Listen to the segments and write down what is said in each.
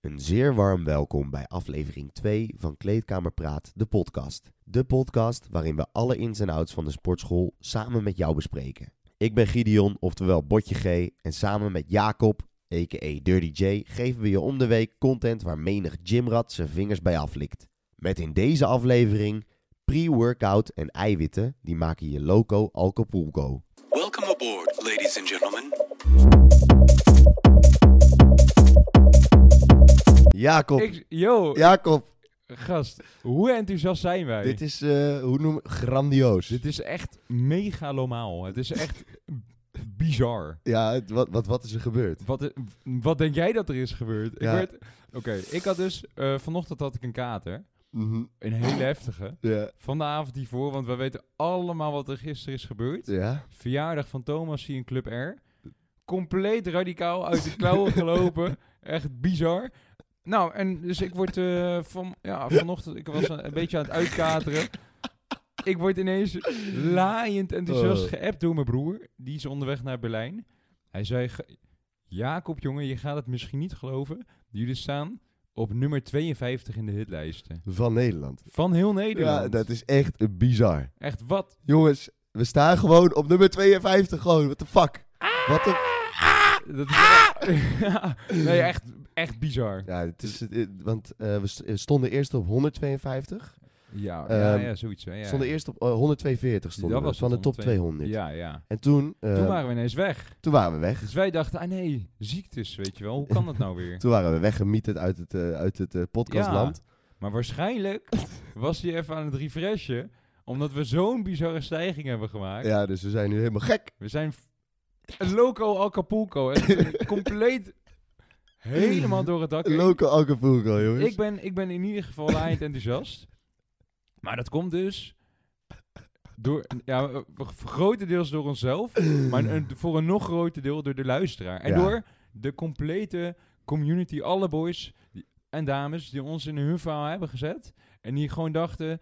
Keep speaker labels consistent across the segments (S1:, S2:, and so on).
S1: Een zeer warm welkom bij aflevering 2 van Kleedkamer Praat, de podcast. De podcast waarin we alle ins en outs van de sportschool samen met jou bespreken. Ik ben Gideon, oftewel Botje G, en samen met Jacob, a.k.a. Dirty J, geven we je om de week content waar menig gymrat zijn vingers bij aflikt. Met in deze aflevering pre-workout en eiwitten, die maken je loco alcopulco.
S2: Welcome aboard, ladies and gentlemen.
S1: Jacob,
S3: Ik, yo,
S1: Jacob,
S3: gast, hoe enthousiast zijn wij?
S1: dit is, eh, hoe noem grandioos.
S3: Dit is echt megalomaal. Het is echt bizar.
S1: Ja, het- wat, wat, wat is er gebeurd?
S3: Wat, i- wat denk jij dat er is gebeurd? Ik
S1: Ja.
S3: werd- Oké, ik had dus... eh, vanochtend had ik een kater.
S1: Mhm.
S3: Een hele heftige.
S1: Ja.
S3: Van de avond hiervoor, want wij weten allemaal wat er gisteren is gebeurd.
S1: Ja?
S3: Verjaardag van Thomas hier in Club R. Compleet radicaal uit de klauwen gelopen. Echt bizar. Nou, en dus ik word eh, van, ja, vanochtend, ik was een, een beetje aan het uitkateren. Ik word ineens laaiend enthousiast
S1: Oh.
S3: geappt door mijn broer. Die is onderweg naar Berlijn. Hij zei, "Ge- Jacob jongen, je gaat het misschien niet geloven. Jullie staan op nummer 52 in de hitlijsten.
S1: Van Nederland.
S3: Van heel Nederland.
S1: Ja, dat is echt bizar.
S3: Echt, wat?
S1: Jongens, we staan gewoon op nummer 52 gewoon. What the fuck? Wat de...
S3: Dat is, Ja, nee, echt, echt bizar.
S1: Ja, het is, het- het- want eh, we st- eh, stonden eerst op 152.
S3: Ja,
S1: Ehm,
S3: ja, ja, zoiets. Hè, ja.
S1: Stonden eerst op eh, 142 stonden
S3: Dat
S1: we,
S3: was
S1: van de
S3: het,
S1: top
S3: 102.
S1: 200.
S3: Ja, ja.
S1: En toen, eh,
S3: Toen waren we ineens weg.
S1: toen waren we weg.
S3: Dus wij dachten, ah nee, ziektes, weet je wel. Hoe kan dat nou weer?
S1: Toen waren we weggemieterd uit het, eh, uit het eh, podcastland.
S3: Maar waarschijnlijk was hij even aan het refreshen, omdat we zo'n bizarre stijging hebben
S1: Ja.
S3: gemaakt.
S1: dus we zijn nu helemaal gek.
S3: We zijn f- een loco Acapulco. Echt compleet helemaal door het dak. heen.
S1: Loco Acapulco, jongens.
S3: Ik ben, ik ben in ieder geval laaiend enthousiast. Maar dat komt dus door, ja, eh, grotendeels door onszelf, maar een, voor een nog groter deel door de luisteraar. En
S1: Ja.
S3: door de complete community, alle boys die- en dames die ons in hun verhaal hebben gezet. En die gewoon dachten,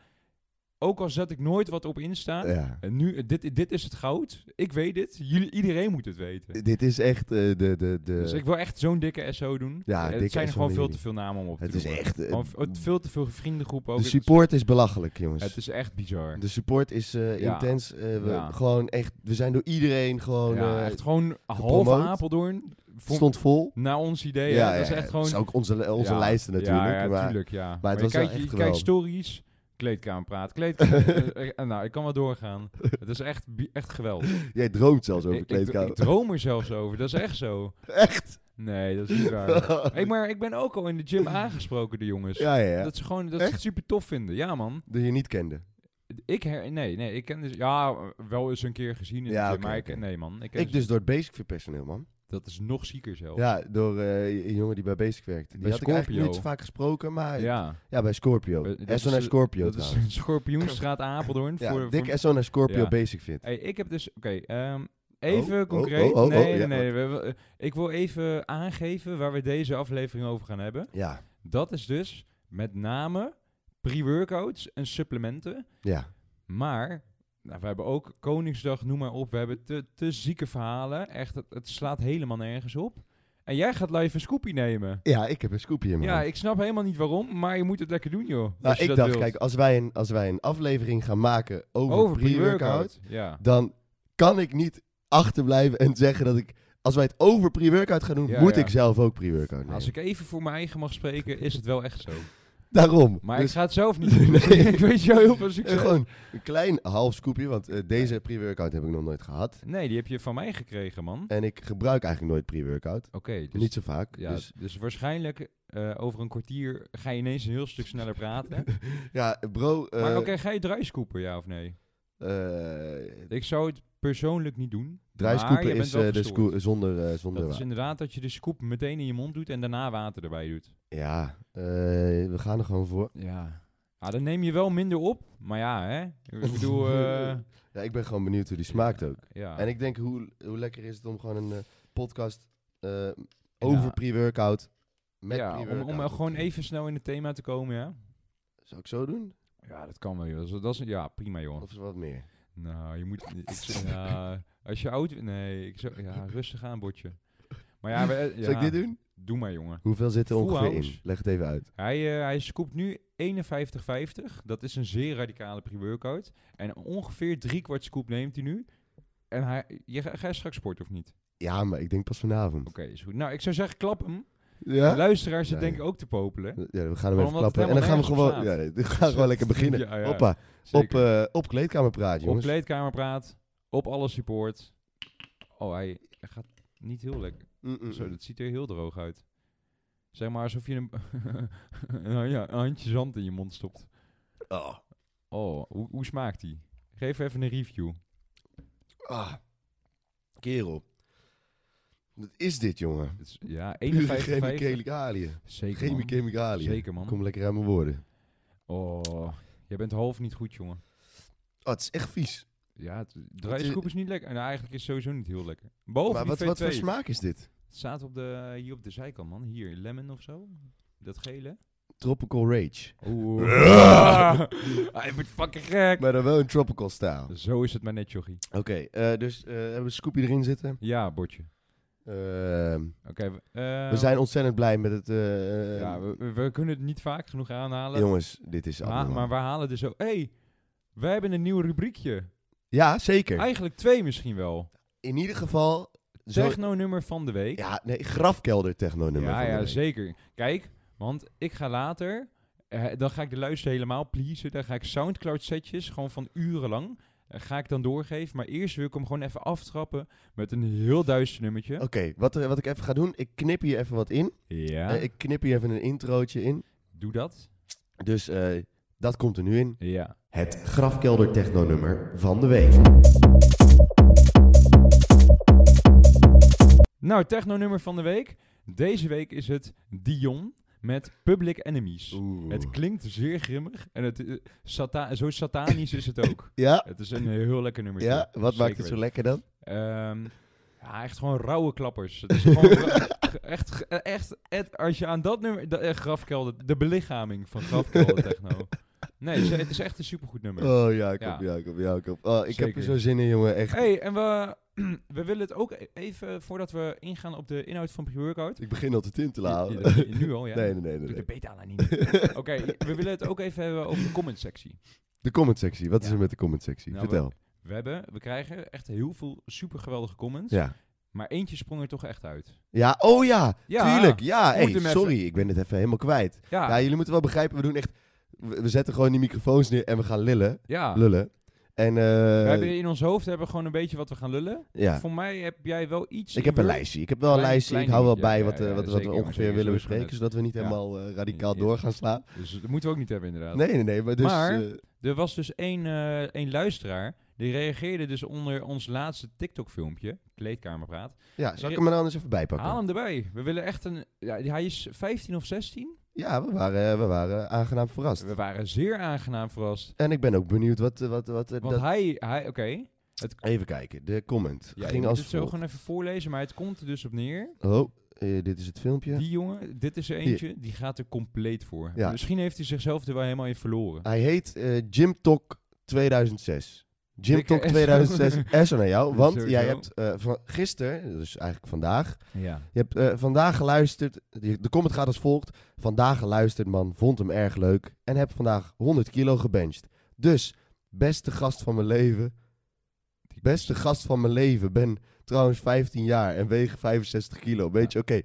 S3: ook al zet ik nooit wat op Insta,
S1: Ja.
S3: en nu, eh, dit, dit is het goud. Ik weet dit. Jullie, iedereen moet het weten.
S1: Dit is echt eh, de... de, de...
S3: Dus ik wil echt zo'n dikke SO doen.
S1: Ja,
S3: Eh,
S1: dikke
S3: het zijn
S1: SO
S3: er gewoon
S1: doen
S3: veel
S1: jullie.
S3: te veel namen om op te
S1: het is
S3: noemen.
S1: echt... eh,
S3: Gewoon v- het veel te veel vriendengroepen ook.
S1: de support is belachelijk, jongens.
S3: Het is echt bizar.
S1: De support is eh,
S3: Ja.
S1: intens. eh, we,
S3: Ja.
S1: gewoon echt, we zijn door iedereen gewoon...
S3: ja,
S1: eh,
S3: echt gewoon half
S1: gepromoot.
S3: Apeldoorn.
S1: het
S3: voor-
S1: stond vol.
S3: Naar ons idee.
S1: Ja,
S3: Ja, dat is
S1: ja,
S3: echt
S1: het
S3: gewoon...
S1: is ook onze, eh, onze
S3: Ja,
S1: lijsten natuurlijk.
S3: Ja, ja,
S1: maar
S3: tuurlijk, ja.
S1: was
S3: Maar, je
S1: wel
S3: kijkt,
S1: echt
S3: je kijkt
S1: geweldig.
S3: stories, kleedkamer praat, kleedkamer... eh, eh, nou, ik kan wel doorgaan. Het is echt, bi- echt geweldig.
S1: Jij droomt zelfs
S3: Ik,
S1: over
S3: ik, ik
S1: kleedkamer.
S3: droom er zelfs over, dat is echt zo.
S1: Echt?
S3: Nee, dat is niet waar. Hey, maar ik ben ook al in de gym aangesproken, de jongens.
S1: ja, ja, ja.
S3: Dat ze gewoon dat ze het super tof vinden. Ja, man.
S1: Dat je niet kende.
S3: Ik her, nee, nee, ik ken dus ja wel eens een keer gezien, in de
S1: Ja,
S3: gym,
S1: oké,
S3: maar
S1: oké.
S3: ik, nee, man, ik ken
S1: Ik dus door het Basic Fit personeel, man.
S3: Dat is nog zieker zelf.
S1: Ja, door eh, een jongen die bij Basic werkt. Die
S3: Bij
S1: had ik eigenlijk
S3: Scorpio.
S1: niet zo vaak gesproken, maar... Ja,
S3: Ja,
S1: bij Scorpio.
S3: Eh, dat
S1: SO naar
S3: is, eh,
S1: Scorpio
S3: dat is
S1: trouwens.
S3: een Schorpioenstraat Apeldoorn.
S1: Ja,
S3: voor,
S1: dik
S3: voor-
S1: SO naar Scorpio
S3: Ja.
S1: Basic Fit.
S3: hey, ik heb dus... Oké, ehm, even
S1: oh,
S3: concreet.
S1: oh, oh,
S3: nee,
S1: ja,
S3: nee, nee. we- we- ik wil even aangeven waar we deze aflevering over gaan hebben.
S1: Ja,
S3: Dat is dus met name pre-workouts en supplementen.
S1: ja.
S3: Maar nou, we hebben ook Koningsdag, noem maar op. We hebben te, te zieke verhalen. Echt, het, het slaat helemaal nergens op. En jij gaat live een scoopie nemen.
S1: Ja, ik heb een scoopje in mijn
S3: Ja,
S1: hand.
S3: ik snap helemaal niet waarom, maar je moet het lekker doen, joh.
S1: Nou,
S3: als je
S1: ik
S3: dat
S1: dacht,
S3: wilt.
S1: kijk, als wij, een, als wij een aflevering gaan maken over,
S3: over
S1: pre-workout,
S3: pre-workout. Ja.
S1: dan kan ik niet achterblijven en zeggen dat ik, als wij het over pre-workout gaan doen,
S3: Ja,
S1: moet
S3: ja. Nou,
S1: ik zelf ook pre-workout nemen.
S3: Als ik even voor mijn eigen mag spreken, is het wel echt zo.
S1: Daarom.
S3: Maar ik
S1: dus
S3: ga het zelf niet doen.
S1: Nee.
S3: ik weet jou heel veel
S1: eh,
S3: succes.
S1: gewoon een klein half scoopje, want eh, deze pre-workout heb ik nog nooit gehad.
S3: Nee, die heb je van mij gekregen, man.
S1: En ik gebruik eigenlijk nooit pre-workout.
S3: Oké, dus,
S1: niet zo vaak.
S3: ja,
S1: dus,
S3: dus, waarschijnlijk eh, over een kwartier ga je ineens een heel stuk sneller praten.
S1: ja bro, eh,
S3: maar oké, ga je dry scoopen, ja of nee?
S1: eh,
S3: Ik zou het persoonlijk niet doen.
S1: dry
S3: maar
S1: scoopen
S3: je bent
S1: is
S3: wel
S1: eh, de
S3: gestoord.
S1: scoo- zonder, eh, zonder
S3: Dat is
S1: wa-
S3: inderdaad dat je de scoop meteen in je mond doet en daarna water erbij doet.
S1: Ja, eh, we gaan er gewoon voor.
S3: Ja. Ah, dan neem je wel minder op. Maar ja, hè. Ik bedoel, eh, Ah.
S1: Ja, ik ben gewoon benieuwd hoe die smaakt ook.
S3: ja.
S1: En ik denk, hoe, hoe lekker is het om gewoon een eh, podcast eh, over
S3: Ja.
S1: pre-workout met
S3: ja, om,
S1: pre-workout.
S3: om eh, gewoon even snel in het thema te komen, ja.
S1: Zou ik zo doen?
S3: Ja, dat kan wel, joh. Dat is, dat is- ja, prima, joh.
S1: Of is er wat meer?
S3: Nou, je moet... Ik, zeg, ja, als je oud... Nee, ik zou... Ja, rustig aan, botje. Maar ja, we, ja.
S1: Zou ik dit doen?
S3: Doe maar, jongen.
S1: Hoeveel zit er
S3: Full
S1: ongeveer in?
S3: house.
S1: Leg het even uit.
S3: Hij, eh, hij scoopt nu 51,50. Dat is een zeer radicale pre-workout. En ongeveer drie kwart scoop neemt hij nu. En hij, je, ga ga je straks sporten of niet?
S1: Ja, maar ik denk pas vanavond.
S3: Oké, is goed. Nou, ik zou zeggen, klap hem.
S1: Ja?
S3: De luisteraars zitten
S1: Nee.
S3: denk ik ook te popelen.
S1: Ja, we gaan hem even
S3: Omdat het
S1: klappen. En dan
S3: helemaal
S1: gaan we gewoon,
S3: nergens op
S1: ja,
S3: slaat.
S1: nee, we gaan gewoon lekker beginnen.
S3: Ja, ja.
S1: Hoppa, op,
S3: Zeker.
S1: eh op kleedkamerpraat,
S3: op
S1: jongens.
S3: kleedkamerpraat, op alle support. Oh, hij hij gaat niet heel lekker.
S1: Mm-mm.
S3: Zo, dat ziet er heel droog uit. Zeg maar alsof je een, een ja, een handje zand in je mond stopt.
S1: Oh.
S3: Oh, hoe, hoe smaakt die? Geef even een review.
S1: Ah. Kerel. Wat is dit, jongen?
S3: Het is- Ja,
S1: Pure
S3: 51
S1: chemicaliën.
S3: Zeker, man.
S1: Chemicaliën.
S3: Zeker, man.
S1: Kom lekker aan mijn woorden.
S3: Oh, jij bent half niet goed, jongen.
S1: Oh, het is echt vies.
S3: Ja, het- de
S1: Wat is-
S3: rijscoop is niet lekker. En eigenlijk is het sowieso niet heel lekker. Behalve
S1: maar
S3: die
S1: wat, wat voor
S3: 2-2.
S1: smaak is dit?
S3: Het staat op de, hier op de zijkant, man. Hier, lemon of zo. Dat gele.
S1: Tropical Rage.
S3: Oeh. Hij wordt fucking gek.
S1: Maar dan wel in tropical style.
S3: Zo is het maar net, jochie.
S1: Oké, eh, dus eh, hebben we een scoopje erin zitten.
S3: Ja, bordje.
S1: Ehm,
S3: Oké. we- eh,
S1: we zijn ontzettend blij met het... eh,
S3: Ja, we, we- we kunnen het niet vaak genoeg aanhalen.
S1: jongens, dit is
S3: maar,
S1: abnormaal.
S3: maar we halen dus zo... hey, wij hebben een nieuw rubriekje.
S1: Ja, zeker.
S3: Eigenlijk twee misschien wel.
S1: In ieder geval... zo-
S3: Techno-nummer van de week.
S1: Ja, nee, grafkelder techno-nummer.
S3: ja,
S1: van de
S3: ja,
S1: week.
S3: zeker. Kijk, want ik ga later... eh, dan ga ik de luister helemaal pleasen. Dan ga ik Soundcloud-setjes, gewoon van urenlang... eh, ga ik dan doorgeven. Maar eerst wil ik hem gewoon even aftrappen... met een heel duister nummertje.
S1: Oké, wat, er- wat ik even ga doen, ik knip hier even wat in.
S3: Ja,
S1: Eh, ik knip hier even een introotje in.
S3: doe dat.
S1: Dus eh, dat komt er nu in.
S3: Ja.
S1: Het grafkelder technonummer van de week.
S3: Nou, techno-nummer van de week. Deze week is het Dion met Public Enemies. Het klinkt zeer grimmig en het, eh, sata- zo satanisch is het ook.
S1: Ja,
S3: Het is een heel lekker nummer.
S1: ja, wat maakt het zo lekker dan? Ehm,
S3: ja, echt gewoon rauwe klappers. Het is gewoon ra- echt, echt, echt, als je aan dat nummer, de, eh, Grafkelder, de belichaming van Grafkelder Techno. Nee, ze- het is echt een supergoed nummer.
S1: Oh, Jacob,
S3: Ja.
S1: Jacob, Jacob. Oh, ik heb er
S3: Zeker.
S1: zo zin in, jongen, echt.
S3: hey, en we, we willen het ook e- even, voordat we ingaan op de inhoud van pre-workout.
S1: Ik begin al te tintelen.
S3: Ja,
S1: ouwe.
S3: ja, nu al, ja.
S1: Nee, nee, nee. nee,
S3: Doe de
S1: nee.
S3: beta nou niet. Oké, we willen het ook even hebben over de comment sectie.
S1: De comment sectie. Wat is
S3: Ja.
S1: er met de comment sectie?
S3: Nou,
S1: Vertel.
S3: We, hebben, we krijgen echt heel veel super geweldige comments.
S1: Ja.
S3: Maar eentje sprong er toch echt uit.
S1: Ja, oh ja,
S3: Ja,
S1: tuurlijk. Ja,
S3: moet
S1: hey,
S3: hem even-
S1: sorry, ik ben het even helemaal kwijt.
S3: Ja,
S1: Ja,
S3: ja.
S1: jullie moeten wel begrijpen, we doen echt... We we zetten gewoon die microfoons neer en we gaan lillen. Lullen. En, eh,
S3: we hebben in ons hoofd hebben we gewoon een beetje wat we gaan lullen.
S1: ja.
S3: Voor mij heb jij wel iets.
S1: Ik
S3: in
S1: heb een
S3: Word.
S1: lijstje. Ik heb wel een
S3: Klein-
S1: lijstje. Ik
S3: klein
S1: hou wel
S3: dingetje.
S1: bij
S3: Ja,
S1: wat, eh,
S3: ja,
S1: wat, wat we
S3: zeker, jongens,
S1: ongeveer
S3: jongens,
S1: willen
S3: zo is het
S1: bespreken.
S3: net.
S1: Zodat we niet
S3: Ja.
S1: helemaal eh, radicaal
S3: Ja.
S1: door gaan slaan.
S3: Dus dat moeten we ook niet hebben, inderdaad.
S1: Nee, nee, nee. Maar dus...
S3: Maar-
S1: eh,
S3: Er was dus één, eh, één luisteraar. Die reageerde dus onder ons laatste TikTok-filmpje. Kleedkamerpraat.
S1: ja, zal ik hem er anders even bij
S3: Haal
S1: pakken?
S3: hem erbij. We willen echt een. Ja, hij is 15 of 16.
S1: Ja, we waren, eh, we waren aangenaam verrast.
S3: We waren zeer aangenaam verrast.
S1: En ik ben ook benieuwd wat... eh, wat, wat eh,
S3: Want
S1: dat...
S3: hij. hij Oké.
S1: Even kijken, de comment.
S3: Ja, ik
S1: ging
S3: moet
S1: als
S3: het zo
S1: volgt.
S3: gewoon even voorlezen. Maar het komt er dus op neer.
S1: Oh, eh, dit is het filmpje.
S3: Die jongen, dit is er eentje, die gaat er compleet voor.
S1: Ja.
S3: Misschien heeft hij zichzelf er wel helemaal in verloren.
S1: Hij heet eh Jim Tok 2006. Jim
S3: Dikke
S1: Tok
S3: S.
S1: 2006, S naar jou. Want jij
S3: Sowieso.
S1: hebt eh, van gisteren, dus eigenlijk vandaag,
S3: Ja.
S1: je hebt eh, vandaag geluisterd. die- De comment gaat als volgt. Vandaag geluisterd, man. Vond hem erg leuk. En heb vandaag 100 kilo gebenched. Dus, beste gast van mijn leven. Beste gast van mijn leven. Ben trouwens 15 jaar en weeg 65 kilo. Weet je, oké.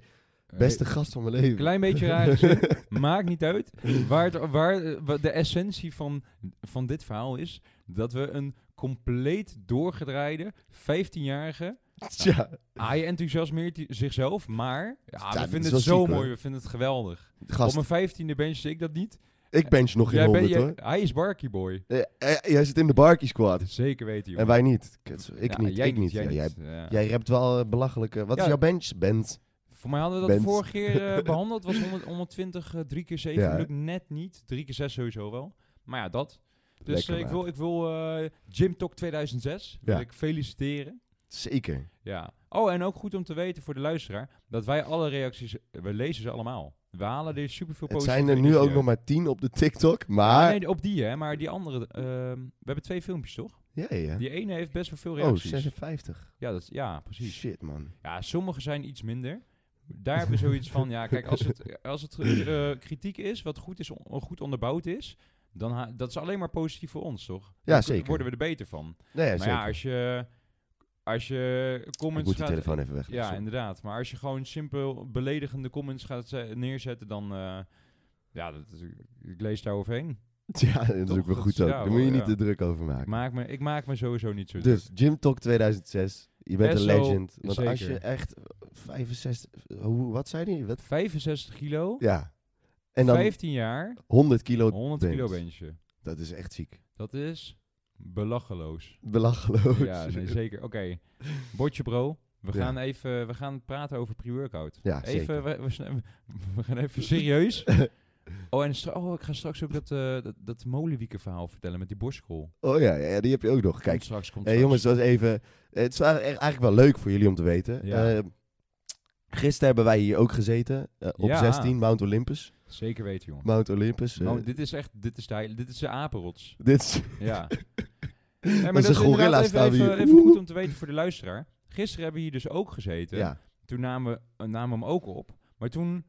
S1: beste gast van mijn leven.
S3: Eh, Klein beetje raar dus- gezin, maakt niet uit. Waar, het- waar eh, wat de essentie van, van dit verhaal is, dat we een compleet doorgedraaide 15-jarige,
S1: Tja,
S3: hij enthousiasmeert i- zichzelf, maar ja,
S1: dat
S3: we
S1: is
S3: vinden
S1: wel
S3: het zo
S1: ziek, hoor.
S3: mooi, we vinden het geweldig.
S1: gast.
S3: Op mijn 15e bench ik dat niet.
S1: Ik bench nog geen
S3: Jij bent-
S1: 100
S3: jij-
S1: hoor.
S3: hij is Barkie Boy.
S1: Eh, eh, jij zit in de Barkie Squad.
S3: Zeker weten,
S1: En
S3: jongen.
S1: wij niet. Kut, Ik
S3: Ja,
S1: niet,
S3: jij
S1: ik niet.
S3: Jij,
S1: Ja, Jij,
S3: niet. Ja.
S1: jij hebt wel eh, belachelijke... Wat
S3: Ja.
S1: is jouw bench, Bent?
S3: Voor mij hadden we dat
S1: Bent.
S3: de vorige keer eh, behandeld. was 100, 120, eh, drie keer 7
S1: Ja.
S3: lukt net niet. Drie keer 6 sowieso wel. Maar ja, dat. Dus
S1: Lekker,
S3: eh, ik
S1: maat.
S3: wil, ik wil eh, Gym Talk 2006 wil
S1: Ja.
S3: ik feliciteren.
S1: Zeker.
S3: Ja. Oh, en ook goed om te weten voor de luisteraar, dat wij alle reacties, eh, we lezen ze allemaal. We halen er superveel
S1: Het
S3: positieve
S1: zijn er nu
S3: energie
S1: ook
S3: uit.
S1: nog maar tien op de TikTok,
S3: Ja,
S1: maar...
S3: nee, op die hè, maar die andere, ehm, we hebben twee filmpjes toch?
S1: Ja, ja.
S3: Die ene heeft best wel veel
S1: Oh,
S3: reacties.
S1: 56.
S3: ja, dat, ja, precies.
S1: Shit, man.
S3: Ja, sommige zijn iets minder. Daar hebben we zoiets van, ja, kijk, als het, als het eh, kritiek is, wat goed, is, on- goed onderbouwd is, dan ha- dat is alleen maar positief voor ons, toch? Dan k-
S1: zeker.
S3: worden we er beter van.
S1: Nee, Nou ja,
S3: maar
S1: zeker.
S3: ja, als je, als je
S1: Ik
S3: comments
S1: moet die
S3: gaat...
S1: telefoon even weg.
S3: Ja, inderdaad. Maar als je gewoon simpel beledigende comments gaat ze- neerzetten, dan... eh, ja, dat is, ik lees daar overheen.
S1: Ja, dat is
S3: Toch?
S1: ook wel
S3: Dat
S1: goed
S3: is-
S1: zo.
S3: ja,
S1: Daar moet je
S3: wel,
S1: niet
S3: ja.
S1: te druk over
S3: Ik
S1: maken.
S3: maak me, ik maak me sowieso niet zo druk.
S1: Dus Gym Talk 2006. Je bent een
S3: SO,
S1: legend. Want als
S3: zeker.
S1: je echt 65... Hoe, wat zei hij? Wat?
S3: 65 kilo,
S1: Ja. En dan Oh,
S3: 15 jaar,
S1: 100 kilo
S3: 100
S1: bench.
S3: kilo benchen.
S1: Dat is echt ziek.
S3: Dat is belacheloos.
S1: Belachelijk.
S3: Ja, nee, zeker. Oké, Botje Bro. We
S1: Oh, Ja.
S3: gaan even we gaan praten over pre-workout.
S1: Ja, zeker.
S3: even, we, we, sne- we gaan even serieus. Oh, en stra- oh, ik ga straks ook dat, eh dat, dat molenwieken verhaal vertellen met die borstkrol.
S1: Oh ja, ja, ja, die heb je ook nog.
S3: Komt
S1: Kijk,
S3: straks komt
S1: hey, jongens, dat was even... Het is wa- e- eigenlijk wel leuk voor jullie om te weten.
S3: Ja.
S1: Eh, gisteren hebben wij hier ook gezeten. eh, op
S3: Ja.
S1: 16, Mount Olympus.
S3: Zeker weten, jongen.
S1: Mount Olympus. eh,
S3: Nou, dit is echt, dit is de, heil- dit is de apenrots.
S1: dit is...
S3: Ja. Nee, maar
S1: een
S3: dat is inderdaad
S1: gorilla
S3: even,
S1: staan we
S3: even,
S1: hier.
S3: even goed om te weten voor de luisteraar. Gisteren hebben we hier dus ook gezeten.
S1: Ja.
S3: Toen namen we, eh, namen we hem ook op. Maar toen,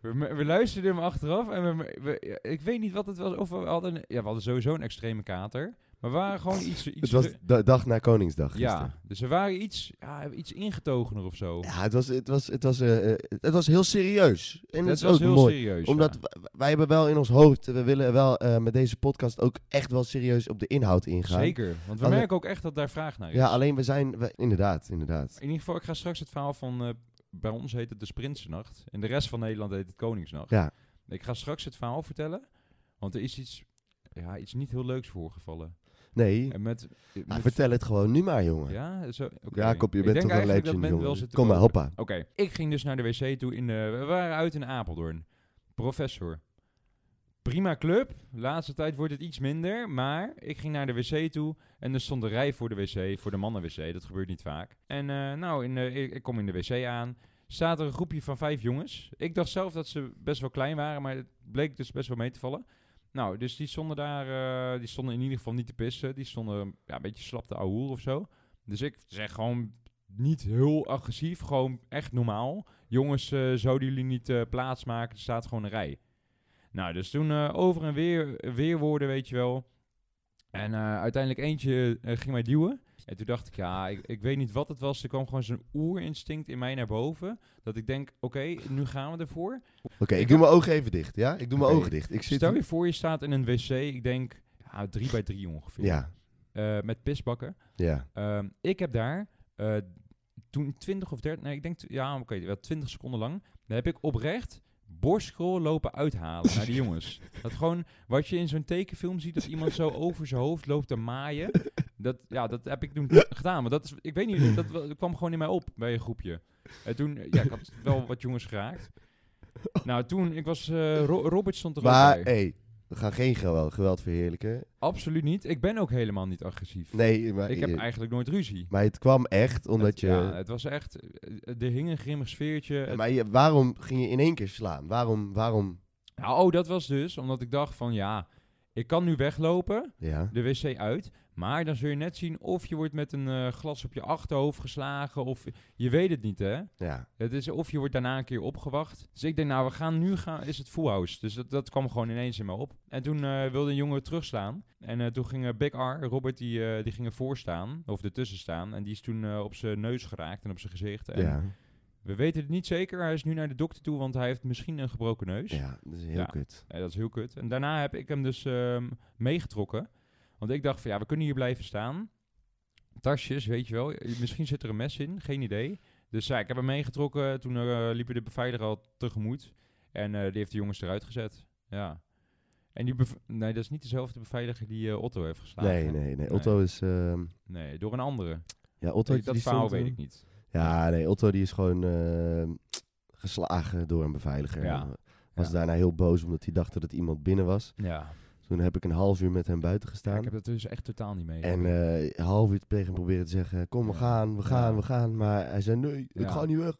S3: we, we luisterden hem achteraf en we, we- ik weet niet wat het was. Of we hadden, ja, we hadden sowieso een extreme kater. Maar we waren gewoon iets... iets
S1: Het was de dag na Koningsdag gisteren.
S3: ja, dus we waren iets, ja, iets ingetogener of zo.
S1: Ja, het was, het was, het was, eh, eh, het was heel serieus. En
S3: dat
S1: het is
S3: was
S1: ook
S3: heel
S1: mooi.
S3: serieus.
S1: Omdat
S3: ja.
S1: w- wij hebben wel in ons hoofd, we willen wel eh, met deze podcast ook echt wel serieus op de inhoud ingaan.
S3: Zeker, want we
S1: Alle-
S3: merken ook echt dat daar vraag naar is.
S1: Ja, alleen we zijn, we- inderdaad, inderdaad.
S3: In ieder geval, ik ga straks het verhaal van... eh, bij ons heet het de Sprinsennacht. En de rest van Nederland heet het Koningsnacht.
S1: Ja.
S3: Ik ga straks het verhaal vertellen. Want er is iets, ja, iets niet heel leuks voorgevallen.
S1: Nee,
S3: En met,
S1: maar
S3: met-
S1: Ah, vertel het gewoon nu maar, jongen.
S3: Ja, zo, oké.
S1: Jacob, je
S3: Ik
S1: bent
S3: denk
S1: toch een
S3: eigenlijk dat
S1: legend,
S3: men wel
S1: jongen.
S3: zit te
S1: Kom maar,
S3: kopen.
S1: hoppa.
S3: Oké, ik ging dus naar de wc toe. In, eh, we waren uit in Apeldoorn. Professor. Prima club. Laatste tijd wordt het iets minder. Maar ik ging naar de wc toe. En er stond een rij voor de wc. Voor de mannen-wc. Dat gebeurt niet vaak. En eh, nou, in, de- ik, ik kom in de wc aan. Staat er een groepje van vijf jongens. Ik dacht zelf dat ze best wel klein waren. Maar het bleek dus best wel mee te vallen. Nou, dus die stonden daar. eh, die stonden in ieder geval niet te pissen. Die stonden ja, een beetje slap te ouwe hoer of zo. Dus ik zeg gewoon niet heel agressief, gewoon echt normaal. Jongens, eh, zouden jullie niet eh, plaatsmaken? Er staat gewoon een rij. Nou, dus toen eh, over en weer, weerwoorden, weet je wel. En eh, uiteindelijk eentje eh, ging mij duwen. En toen dacht ik, ja, ik, ik weet niet wat het was. Er kwam gewoon zo'n oerinstinct in mij naar boven. Dat ik denk, oké, nu gaan we ervoor.
S1: Oké, ik doe mijn ogen even dicht, ja? Ik doe mijn
S3: Oké.
S1: ogen dicht. Ik zit
S3: Stel je voor, je staat in een wc. Ik denk, ja, drie bij drie ongeveer.
S1: Ja,
S3: Eh, met pisbakken.
S1: ja.
S3: Ehm, ik heb daar eh, toen 20 of 30, nee, ik denk, tw- ja, oké, wel 20 seconden lang. Daar heb ik oprecht borstkrol lopen uithalen naar die jongens. Dat gewoon, wat je in zo'n tekenfilm ziet, dat iemand zo over zijn hoofd loopt te maaien. Dat, ja, dat heb ik toen gedaan. Maar dat is, ik weet niet, dat wa- kwam gewoon in mij op bij een groepje. En toen, eh, ja, ik had wel wat jongens geraakt. Nou, toen, ik was, eh, Ro- Robert stond er ook
S1: Maar, eh
S3: bij.
S1: hey, we gaan geen geweld, geweld verheerlijken.
S3: Absoluut niet. Ik ben ook helemaal niet agressief.
S1: Nee, maar,
S3: ik heb
S1: eh,
S3: eigenlijk nooit ruzie.
S1: maar het kwam echt omdat
S3: Het-
S1: je...
S3: Ja, het was echt... eh, Er hing een grimmig sfeertje. Het-
S1: Maar je- waarom ging je in één keer slaan? Waarom, waarom,
S3: Nou, oh, dat was dus omdat ik dacht van ja, ik kan nu weglopen,
S1: ja?
S3: de wc uit. Maar dan zul je net zien of je wordt met een eh, glas op je achterhoofd geslagen of... Je weet het niet, hè?
S1: Ja,
S3: Het is of je wordt daarna een keer opgewacht. Dus ik denk, nou, we gaan nu gaan, is het full house. Dus dat, dat kwam gewoon ineens in me op. En toen eh, wilde een jongen terugslaan. En eh, toen ging eh, Big R, Robert, die, eh, die ging ervoor staan, of ertussen staan. En die is toen eh, op zijn neus geraakt en op zijn gezicht. En
S1: ja.
S3: We weten het niet zeker. Hij is nu naar de dokter toe, want hij heeft misschien een gebroken neus.
S1: Ja, dat is heel
S3: Ja.
S1: kut.
S3: Eh, dat is heel kut. En daarna heb ik hem dus ehm, meegetrokken. Want ik dacht van ja, we kunnen hier blijven staan. Tasjes, weet je wel. Eh, Misschien zit er een mes in, geen idee. Dus ja, ik heb hem meegetrokken. Toen eh, liepen de beveiliger al tegemoet. En eh, die heeft de jongens eruit gezet. Ja. En die beve- nee, dat is niet dezelfde beveiliger die eh, Otto heeft geslagen.
S1: Nee, nee, nee. Otto is... ehm,
S3: Nee, door een andere.
S1: ja, Otto,
S3: dat
S1: die
S3: verhaal
S1: stond,
S3: weet
S1: eh,
S3: ik niet.
S1: Ja, nee, Otto die is gewoon ehm, geslagen door een beveiliger.
S3: Ja.
S1: En Was
S3: Ja.
S1: daarna heel boos omdat hij dacht dat het iemand binnen was.
S3: Ja.
S1: Toen heb ik een half uur met hem buiten
S3: Ja,
S1: gestaan.
S3: ik heb dat dus echt totaal niet mee.
S1: En eh, een half uur tegen hem proberen te zeggen, kom we
S3: Ja.
S1: gaan, we
S3: Ja.
S1: gaan, we gaan. Maar hij zei, nee,
S3: Ja.
S1: ik ga niet weg.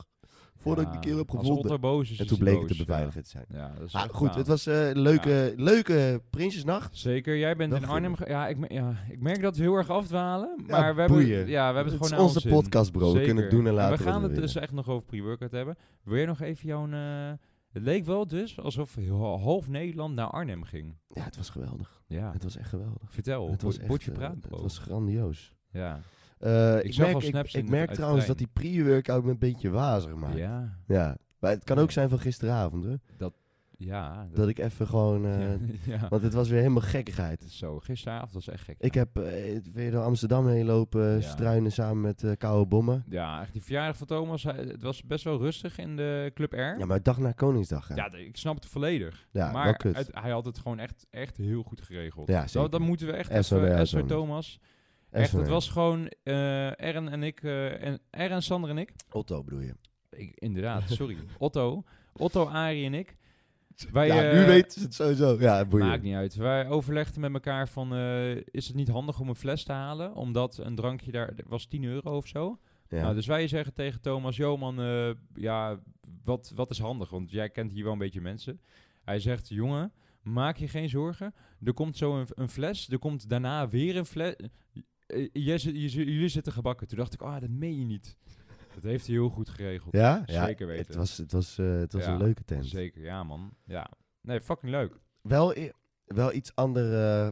S1: voordat
S3: Ja,
S1: ik de keer heb
S3: Als
S1: gevonden.
S3: Otter boos is,
S1: En
S3: is
S1: toen
S3: hij
S1: bleek het
S3: boos,
S1: de beveiliger te zijn.
S3: Ja, Ja, dat is
S1: Maar
S3: echt
S1: goed,
S3: gaaf.
S1: het was eh, een leuke, leuke Prinsjesnacht.
S3: Zeker, jij bent
S1: Dat
S3: in
S1: vind
S3: Arnhem.
S1: ik.
S3: ge- Ja ik, me- ja, ik merk dat we heel erg afdwalen. Maar we, hebben,
S1: boeien.
S3: ja, we hebben het
S1: Het is
S3: gewoon naar
S1: onze
S3: ons zin.
S1: podcast, bro. We kunnen het
S3: Zeker.
S1: doen en laten.
S3: We gaan het dus
S1: willen.
S3: echt nog over pre-workout hebben. Weer nog even jouw... eh, het leek wel dus alsof heel- half Nederland naar Arnhem ging.
S1: Ja, het was geweldig.
S3: Ja,
S1: Het was echt geweldig.
S3: vertel.
S1: het was
S3: bo- bordje
S1: echt, eh,
S3: praat, bro.
S1: Het was grandioos.
S3: ja.
S1: Eh, ik,
S3: zag al
S1: merk,
S3: snaps
S1: ik,
S3: in
S1: ik
S3: de-
S1: merk
S3: uit de
S1: trouwens dat
S3: trein.
S1: die pre-workout me een beetje wazig maakt. Ja.
S3: ja,
S1: Maar het kan
S3: Ja.
S1: ook zijn van gisteravond, hè.
S3: ja.
S1: Dat ik even gewoon... eh,
S3: ja.
S1: Want het was weer helemaal gekkigheid.
S3: Zo, gisteravond was echt gek.
S1: Ik heb eh, weer door Amsterdam heen lopen eh,
S3: Ja.
S1: struinen samen met eh koude bommen.
S3: Ja, echt die verjaardag van Thomas, hij- het was best wel rustig in de Club R.
S1: Ja,
S3: Ja,
S1: maar dag na Koningsdag. hè. Ja,
S3: d- ik snap het volledig.
S1: wel
S3: maar
S1: kut.
S3: het- hij had het gewoon echt, echt heel goed geregeld.
S1: Ja,
S3: Dat-
S1: zeker.
S3: Dat, moeten we echt
S1: SOS
S3: even...
S1: Thomas.
S3: SO Thomas. Echt, het was gewoon eh Ern en ik, eh en Ern en Sander en ik.
S1: Otto bedoel je?
S3: ik inderdaad, sorry. Otto. Otto, Arie en ik. Wij,
S1: ja,
S3: eh,
S1: nu weten ze het sowieso. Ja, boeien.
S3: Maakt niet uit. Wij overlegden met elkaar van, eh, is het niet handig om een fles te halen? Omdat een drankje daar was 10 euro of zo.
S1: Ja.
S3: Nou, dus wij zeggen tegen Thomas, joh man, eh, ja, wat, wat is handig? Want jij kent hier wel een beetje mensen. Hij zegt, jongen, maak je geen zorgen. Er komt zo een, een fles, er komt daarna weer een fles. Eh, jij zit- je zit- jullie zitten gebakken. Toen dacht ik, ah, dat meen je niet. Dat heeft hij heel goed geregeld.
S1: ja?
S3: Zeker weten.
S1: Het was, het was, eh, het was
S3: Ja,
S1: een leuke tent.
S3: Zeker, ja man. Ja. Nee, fucking leuk.
S1: Wel, i- wel iets ander. eh,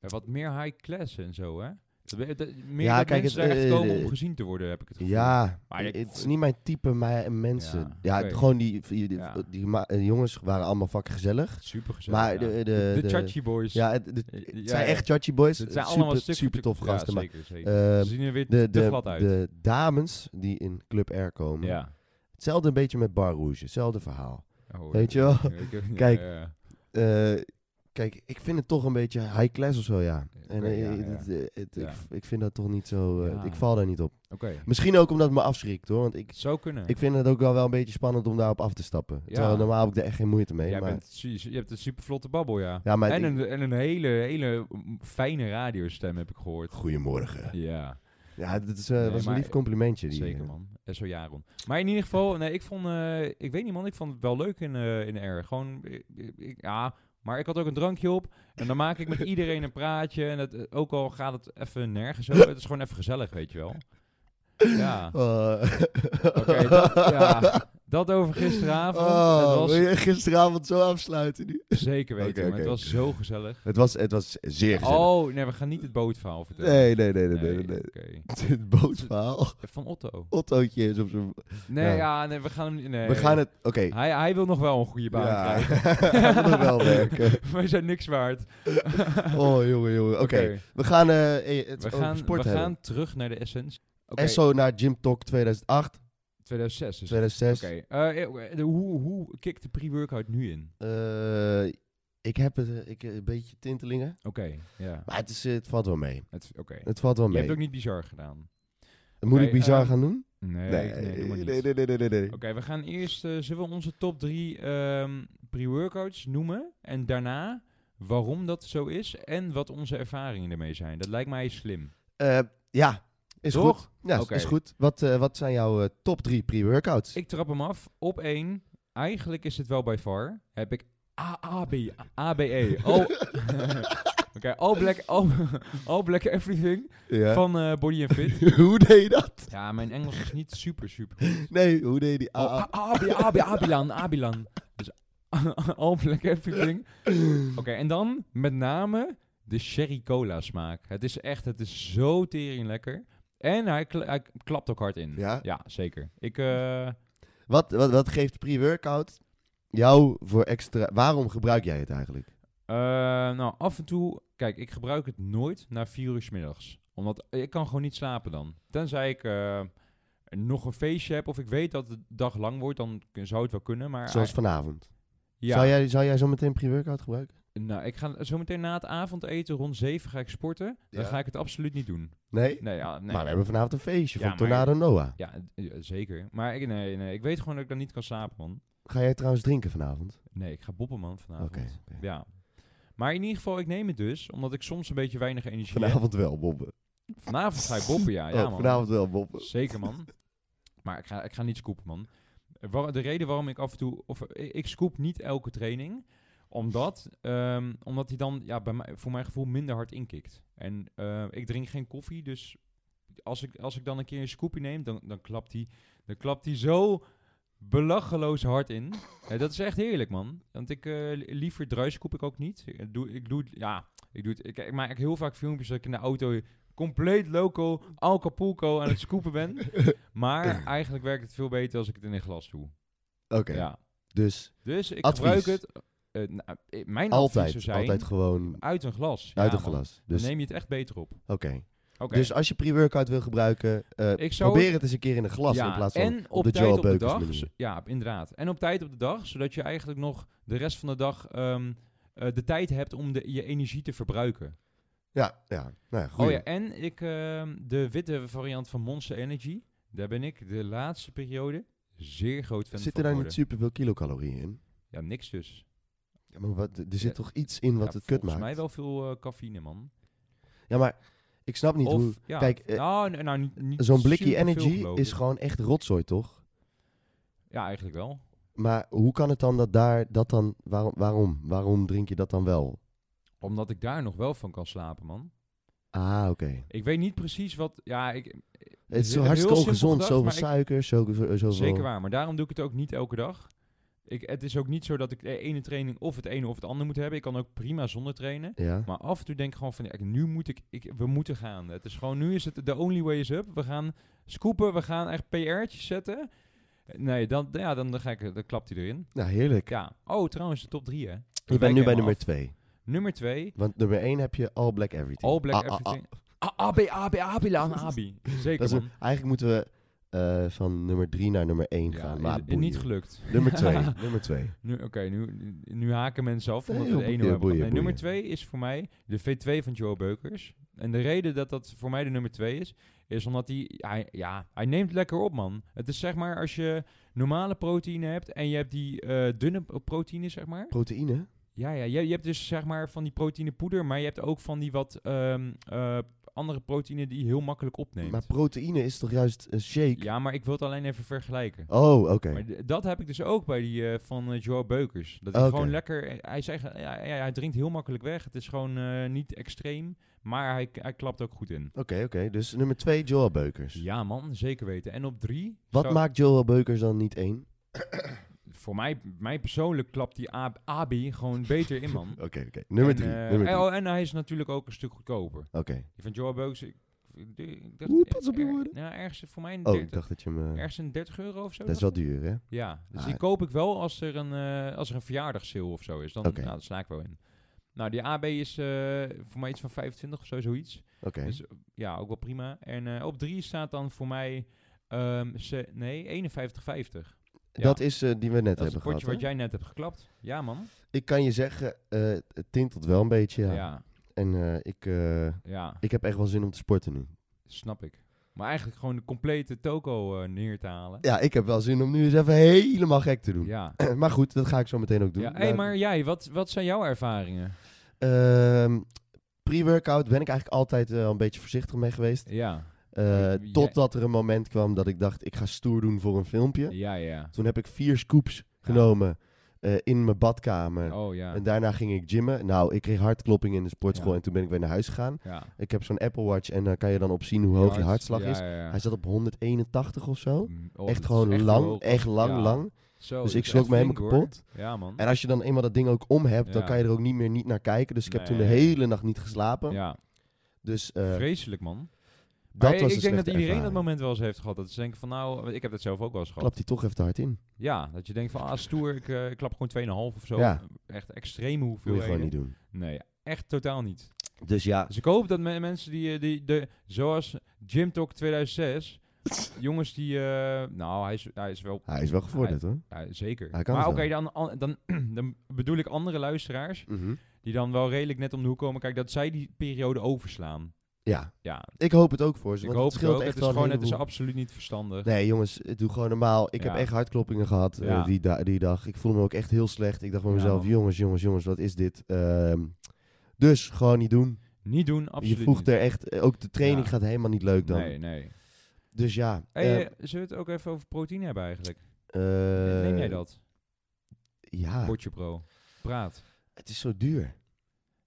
S3: Ja, wat meer high class en zo, hè? Dat be- dat- meer
S1: Ja,
S3: dat
S1: kijk,
S3: mensen
S1: het,
S3: daar echt
S1: eh,
S3: komen
S1: eh,
S3: om gezien te worden, heb ik het gevoel.
S1: ja,
S3: Maar ik-
S1: het is niet mijn type maar mensen.
S3: Ja,
S1: Ja,
S3: oké.
S1: gewoon die, die, die,
S3: Ja.
S1: die ma- eh, jongens waren allemaal fucking gezellig.
S3: Super gezellig.
S1: Maar
S3: ja.
S1: de, de,
S3: de,
S1: de-
S3: Chachi Boys.
S1: Ja, het, de-
S3: Eh,
S1: het
S3: ja,
S1: zijn
S3: ja.
S1: echt Chachi Boys.
S3: Dus het zijn
S1: Eh, super,
S3: allemaal een stuk
S1: super tof
S3: ja,
S1: gasten. maar,
S3: Zeker, zeker.
S1: eh,
S3: Ze zien er weer
S1: de,
S3: te
S1: de,
S3: glad uit.
S1: de dames die in Club Air komen.
S3: ja.
S1: Hetzelfde een beetje met Bar Rouge. Hetzelfde verhaal.
S3: Oh,
S1: Weet je
S3: ja.
S1: wel?
S3: Ik heb-
S1: Kijk,
S3: ja, ja.
S1: Eh, kijk, ik vind het toch een beetje high class of zo, ja.
S3: Oké,
S1: en eh,
S3: ja,
S1: het-
S3: ja.
S1: het- eh, het-
S3: Ja.
S1: Ik, ik vind dat toch niet zo... eh,
S3: Ja.
S1: Ik val daar niet op.
S3: Oké,
S1: Misschien ook omdat het me afschrikt, hoor. Want ik,
S3: zou kunnen.
S1: ik vind het ook wel, wel een beetje spannend om daarop af te stappen.
S3: Ja.
S1: Terwijl normaal heb ik daar echt geen moeite mee.
S3: Jij
S1: maar,
S3: bent, su- su- je hebt een super vlotte babbel, ja.
S1: ja, maar ik-
S3: en, een, en een hele, hele mm, fijne radiostem heb ik gehoord.
S1: Goedemorgen.
S3: Ja,
S1: Ja, dat is, eh,
S3: Nee,
S1: was een
S3: maar-
S1: lief complimentje. Die, eh,
S3: zeker man. En zo Jaron. Maar in ieder geval, nee, ik vond, eh, ik weet niet man, ik vond het wel leuk in, eh in R. Gewoon, ik- ik- ja, maar ik had ook een drankje op. En dan maak ik met iedereen een praatje. En het, eh, ook al gaat het even nergens over, het is gewoon even gezellig, weet je wel. Ja.
S1: Eh,
S3: Oké, dat, ja, dat over gisteravond.
S1: Oh,
S3: het was
S1: wil je gisteravond zo afsluiten nu?
S3: zeker weten,
S1: Oké,
S3: maar
S1: oké.
S3: het was zo gezellig.
S1: Het was, het was zeer gezellig.
S3: Oh, nee, we gaan niet het bootverhaal vertellen.
S1: nee, nee, nee, nee, nee. nee, nee.
S3: oké.
S1: Het bootverhaal.
S3: Van Otto.
S1: Ottootje is op zijn...
S3: Nee, ja.
S1: Ja.
S3: nee, we gaan hem niet- nee.
S1: We gaan het... Oké.
S3: Hij, hij wil nog wel een goede baan
S1: Ja,
S3: krijgen.
S1: gaat nog wel werken.
S3: Wij zijn niks waard.
S1: Oh, jongen, jongen. Oké, we gaan eh, eh, het
S3: We,
S1: over
S3: gaan,
S1: sport
S3: we
S1: hebben.
S3: gaan terug naar de essentie. Oké,
S1: En zo naar Gym Talk 2008,
S3: 2006 is het.
S1: 2006.
S3: Oké, eh, eh, de- hoe, hoe kikt de pre-workout nu in?
S1: Eh, ik heb het, eh, ik, eh, een beetje tintelingen.
S3: Oké, ja.
S1: Maar het, is, eh, het valt wel mee.
S3: Het, oké.
S1: Het valt wel
S3: Je
S1: mee.
S3: hebt ook niet bizar gedaan.
S1: Moet ik
S3: Oké,
S1: bizar
S3: ehm,
S1: gaan doen?
S3: Nee, nee, doe maar niet.
S1: nee, nee, nee, nee, nee.
S3: Oké, we gaan eerst... eh, zullen we onze top drie ehm, pre-workouts noemen? En daarna waarom dat zo is en wat onze ervaringen ermee zijn. Dat lijkt mij slim.
S1: Eh, ja, is
S3: Toch?
S1: goed. Ja, is-
S3: Oké.
S1: is goed. Wat, eh, wat zijn jouw eh, top 3 pre-workouts?
S3: Ik trap hem af op één. Eigenlijk is het wel bij VAR. Heb ik AAB, ABE. All, E. Oh, Oké, all, black, all, all black everything
S1: Ja.
S3: van eh, Body and Fit.
S1: hoe deed je dat?
S3: Ja, mijn Engels is niet super, super.
S1: Nee, hoe deed je die?
S3: Oh,
S1: Ah,
S3: A- AB, AB, Abilan, Abilan. Dus all black everything. Oké, en dan met name de sherry cola smaak. Het is echt, het is zo tering lekker. En hij, kla- hij klapt ook hard in.
S1: Ja?
S3: zeker. Ik, eh,
S1: Wat, wat, wat geeft pre-workout jou voor extra... Waarom gebruik jij het eigenlijk?
S3: Eh, nou, af en toe... Kijk, ik gebruik het nooit na vier uur 's middags. Omdat ik kan gewoon niet slapen dan. Tenzij ik eh, nog een feestje heb of ik weet dat de dag lang wordt, dan kun- zou het wel kunnen. Maar
S1: Zoals vanavond.
S3: ja,
S1: Zou, jij, zou jij zo meteen pre-workout gebruiken?
S3: nou, ik ga zo meteen na het avondeten rond zeven ga ik sporten. Dan
S1: Ja.
S3: ga ik het absoluut niet doen.
S1: Nee?
S3: Nee, ja, nee.
S1: Maar we hebben vanavond een feestje
S3: Ja,
S1: van
S3: maar-
S1: Tornado Noah.
S3: ja, d- ja, zeker. Maar ik, nee, nee, ik weet gewoon dat ik dan niet kan slapen, man.
S1: Ga jij trouwens drinken vanavond?
S3: Nee, ik ga boppen, man, vanavond.
S1: Oké. oké.
S3: Ja. Maar in ieder geval, ik neem het dus, omdat ik soms een beetje weinig energie heb.
S1: Vanavond wel, Bobben.
S3: Vanavond ga ik boppen, ja. ja
S1: Oh,
S3: man.
S1: vanavond wel, Bobben.
S3: Zeker, man. Maar ik ga, ik ga niet scoopen, man. Eh, Waar- de reden waarom ik af en toe... Of, eh, ik, ik scoop niet elke training. Omdat, ehm, omdat hij dan ja, bij mij, voor mijn gevoel minder hard inkikt. En eh, ik drink geen koffie, dus als ik, als ik dan een keer een scoopje neem, dan, dan klapt hij dan klapt hij zo belacheloos hard in. Ja, dat is echt heerlijk, man. Want ik eh, li- liever druis koop ik ook niet. Ik doe, ik doe, ja, ik doe het. Ik, ik maak heel vaak filmpjes dat ik in de auto compleet loco, alcapulco aan het scoopen ben. Maar eigenlijk werkt het veel beter als ik het in een glas doe.
S1: Oké,
S3: Ja.
S1: dus
S3: Dus ik
S1: Advies.
S3: gebruik het. eh, nou, eh, mijn advies zou
S1: altijd,
S3: zijn
S1: altijd gewoon
S3: uit een glas.
S1: uit
S3: Ja,
S1: een
S3: man.
S1: glas.
S3: Dan
S1: Dus,
S3: neem je het echt beter op.
S1: oké.
S3: Oké.
S1: dus als je pre-workout wil gebruiken, eh,
S3: Ik zou-
S1: probeer het eens een keer in een glas in plaats van...
S3: en
S1: de
S3: tijd
S1: Joe
S3: op de
S1: Beukers
S3: dag.
S1: manier.
S3: z- Ja, inderdaad. En op tijd op de dag, zodat je eigenlijk nog de rest van de dag ehm, eh, de tijd hebt om de, je energie te verbruiken.
S1: Ja, ja, nou ja, goed.
S3: Oh ja, en ik, ehm, de witte variant van Monster Energy, daar ben ik de laatste periode zeer groot fan
S1: Zitten
S3: van
S1: daar niet
S3: geworden.
S1: superveel kilocalorieën in?
S3: Ja, niks dus.
S1: Ja, maar wat, er zit
S3: Ja.
S1: toch iets in wat
S3: Ja,
S1: het kut
S3: volgens
S1: maakt?
S3: mij wel veel eh, cafeïne, man.
S1: Ja, maar ik snap niet hoe...
S3: Of, ja,
S1: kijk, eh,
S3: nou, n- nou, niet- niet
S1: Zo'n blikje
S3: superveel,
S1: energy
S3: geloof
S1: is
S3: ik.
S1: gewoon echt rotzooi, toch?
S3: Ja, eigenlijk wel.
S1: Maar hoe kan het dan dat daar... Dat dan, waarom, waarom? Waarom drink je dat dan wel?
S3: Omdat ik daar nog wel van kan slapen, man.
S1: Ah, oké.
S3: Ik weet niet precies wat... Ja, ik,
S1: Het is zo
S3: heel
S1: hartstikke
S3: simpel
S1: ongezond.
S3: gedacht,
S1: zoveel
S3: maar ik-
S1: suiker, zo, zo, zoveel...
S3: Zeker waar, maar daarom doe ik het ook niet elke dag. Ik, het is ook niet zo dat ik de ene training of het ene of het ander moet hebben. Ik kan ook prima zonder trainen.
S1: Ja,
S3: Maar af en toe denk ik gewoon van, ja, nu moet ik, ik, we moeten gaan. Het is gewoon, nu is het the only way is up. We gaan scoopen, we gaan echt PR'tjes zetten. Nee, dan, ja, dan, ga ik, dan klapt hij erin.
S1: nou heerlijk.
S3: Ja, oh trouwens, de top drie hè.
S1: Je
S3: Wijk
S1: bent nu bij
S3: helemaal
S1: nummer
S3: af.
S1: twee.
S3: Nummer twee,
S1: Want nummer één heb je All Black Everything.
S3: All Black
S1: Ah, ah, ah.
S3: Everything. Ah, AB, AB, AB, Lan, Abi. Zeker
S1: Dat is
S3: man.
S1: een- eigenlijk moeten we eh, van nummer drie naar nummer één
S3: Ja,
S1: gaan.
S3: is-
S1: Maar
S3: is
S1: boeien.
S3: niet gelukt.
S1: Nummer twee, nummer twee.
S3: Nu, Oké, nu, nu haken mensen af omdat
S1: Nee,
S3: we de
S1: joh,
S3: ene
S1: boeien,
S3: hebben.
S1: boeien,
S3: Nee, nummer
S1: boeien.
S3: 2 is voor mij de V2 van Joe Beukers. En de reden dat dat voor mij de nummer 2 is, is omdat hij, hij, ja, hij neemt lekker op, man. Het is zeg maar als je normale proteïne hebt en je hebt die eh, dunne proteïne, zeg maar.
S1: Proteïne?
S3: Ja, ja je, je hebt dus zeg maar van die proteïnepoeder, maar je hebt ook van die wat ehm, eh, andere proteïne die je heel makkelijk opneemt.
S1: Maar proteïne is toch juist een shake?
S3: ja, maar ik wil het alleen even vergelijken.
S1: Oh, oké.
S3: Maar d- dat heb ik dus ook bij die eh, van eh, Joe Beukers. Dat hij
S1: Oké.
S3: gewoon lekker... eh, Hij, zegt, ja, ja, hij drinkt heel makkelijk weg. Het is gewoon eh, niet extreem. Maar hij, hij klapt ook goed in.
S1: Oké, oké. Dus nummer twee, Joel Beukers.
S3: Ja man, zeker weten. En op drie...
S1: Wat
S3: zou-
S1: maakt Joel Beukers dan niet één?
S3: Voor mij, mij persoonlijk klapt die A- AB gewoon beter in man.
S1: Oké, oké. Oh, Nummer
S3: En,
S1: drie.
S3: eh,
S1: nummer
S3: en-
S1: drie.
S3: oh, en hij is natuurlijk ook een stuk goedkoper.
S1: Oké.
S3: Die van Joe Beukers... Ik, ik- ik dacht,
S1: Oeh, pas op je
S3: er-
S1: woorden.
S3: nou, ergens voor mij een
S1: Oh,
S3: 30,
S1: ik dacht dat je me...
S3: ergens een 30 euro of zo.
S1: Dat is
S3: dacht
S1: wel duur, hè?
S3: Ja, dus
S1: Ah,
S3: die koop ik wel als er een, eh als er een verjaardagsale of zo is. Dan,
S1: Oké.
S3: nou, dan sla ik wel in. Nou, die AB is eh, voor mij iets van 25 of zo, zoiets.
S1: Oké.
S3: Dus ja, ook wel prima. En eh, op 3 staat dan voor mij, ehm, ze, nee, 51,50. ja.
S1: Dat is eh, die we net
S3: Dat is
S1: hebben
S3: het
S1: gehad.
S3: potje wat
S1: hè?
S3: jij net hebt geklapt. Ja, man.
S1: Ik kan je zeggen, eh, het tintelt wel een beetje, ja.
S3: Ja, ja,
S1: En eh, ik, eh, ik heb echt wel zin om te sporten nu.
S3: snap ik. Maar eigenlijk gewoon de complete toko eh, neer te halen.
S1: Ja, ik heb wel zin om nu eens even helemaal gek te doen.
S3: Ja.
S1: maar goed, dat ga ik zo meteen ook doen. Nou, Eh,
S3: ja. Hey, maar jij, wat, wat zijn jouw ervaringen?
S1: Ehm, Pre-workout ben ik eigenlijk altijd eh, een beetje voorzichtig mee geweest.
S3: Ja,
S1: Eh,
S3: Jij-
S1: totdat er een moment kwam dat ik dacht, ik ga stoer doen voor een filmpje.
S3: ja, ja.
S1: Toen heb ik vier scoops genomen eh, in mijn badkamer.
S3: Oh ja.
S1: En daarna ging ik gymmen. Nou, ik kreeg hartklopping in de sportschool
S3: Ja.
S1: en toen ben ik weer naar huis gegaan.
S3: ja.
S1: Ik heb zo'n Apple Watch en daar kan je dan op zien hoe hoog je
S3: Hart-
S1: hartslag
S3: ja,
S1: is.
S3: ja, ja.
S1: Hij zat op 181 of zo.
S3: Mm, oh, dat
S1: echt
S3: is
S1: gewoon
S3: wel
S1: lang,
S3: hoog.
S1: echt lang,
S3: Ja.
S1: lang.
S3: Zo,
S1: Dus
S3: dat
S1: ik
S3: is
S1: schrok
S3: echt
S1: me helemaal
S3: flink, hoor.
S1: kapot.
S3: Ja, man.
S1: En als je dan eenmaal dat ding ook om hebt, dan
S3: Ja.
S1: kan je er ook niet meer niet naar kijken. Dus ik heb toen de
S3: Nee.
S1: hele nacht niet geslapen.
S3: Ja,
S1: Dus eh,
S3: vreselijk, man.
S1: dat
S3: Maar
S1: was
S3: ik
S1: een
S3: denk dat
S1: slechte
S3: iedereen dat
S1: ervaring.
S3: moment wel eens heeft gehad. Dat ze denken van, nou, want ik heb dat zelf ook wel eens gehad.
S1: Klapt hij toch even te hard in.
S3: Ja, dat je denkt van, ah, stoer, ik, eh, ik klap gewoon 2,5 of zo.
S1: Ja.
S3: Echt extreme
S1: Wil je
S3: hoeveelheden.
S1: gewoon niet doen.
S3: Nee, echt totaal niet.
S1: Dus ja,
S3: Dus ik hoop dat me- mensen die, eh, die de, zoals Gym Talk 2006, jongens die, eh, nou, hij is, hij is wel
S1: hij is wel gevorderd hoor.
S3: ja, zeker.
S1: Hij kan
S3: maar
S1: het
S3: oké,
S1: wel.
S3: dan, an- dan, dan bedoel ik andere luisteraars
S1: Mhm.
S3: die dan wel redelijk net om de hoek komen. Kijk, dat zij die periode overslaan.
S1: Ja,
S3: Ja, dus
S1: ik hoop het ook voor ze.
S3: Ik
S1: Dus Want het
S3: hoop het
S1: scheelt
S3: ook.
S1: echt
S3: Het is
S1: wel een
S3: gewoon, het is
S1: heleboel.
S3: absoluut niet verstandig.
S1: Nee jongens, eh, doe gewoon normaal. Ik
S3: Ja.
S1: heb echt hartkloppingen gehad eh,
S3: Ja.
S1: die, da- die dag. Ik voelde me ook echt heel slecht. Ik dacht bij
S3: Ja,
S1: mezelf,
S3: man.
S1: jongens, jongens, jongens, wat is dit? Ehm, dus gewoon niet doen.
S3: Niet doen, absoluut
S1: je voegt
S3: niet.
S1: er echt... eh, Ook de training
S3: Ja.
S1: gaat helemaal niet leuk dan.
S3: Nee, nee.
S1: Dus ja.
S3: Hey,
S1: eh,
S3: eh, zullen we het ook even over proteïne hebben eigenlijk?
S1: Eh, ah.
S3: Neem jij dat?
S1: Ja,
S3: Potje Pro. Praat.
S1: het is zo duur.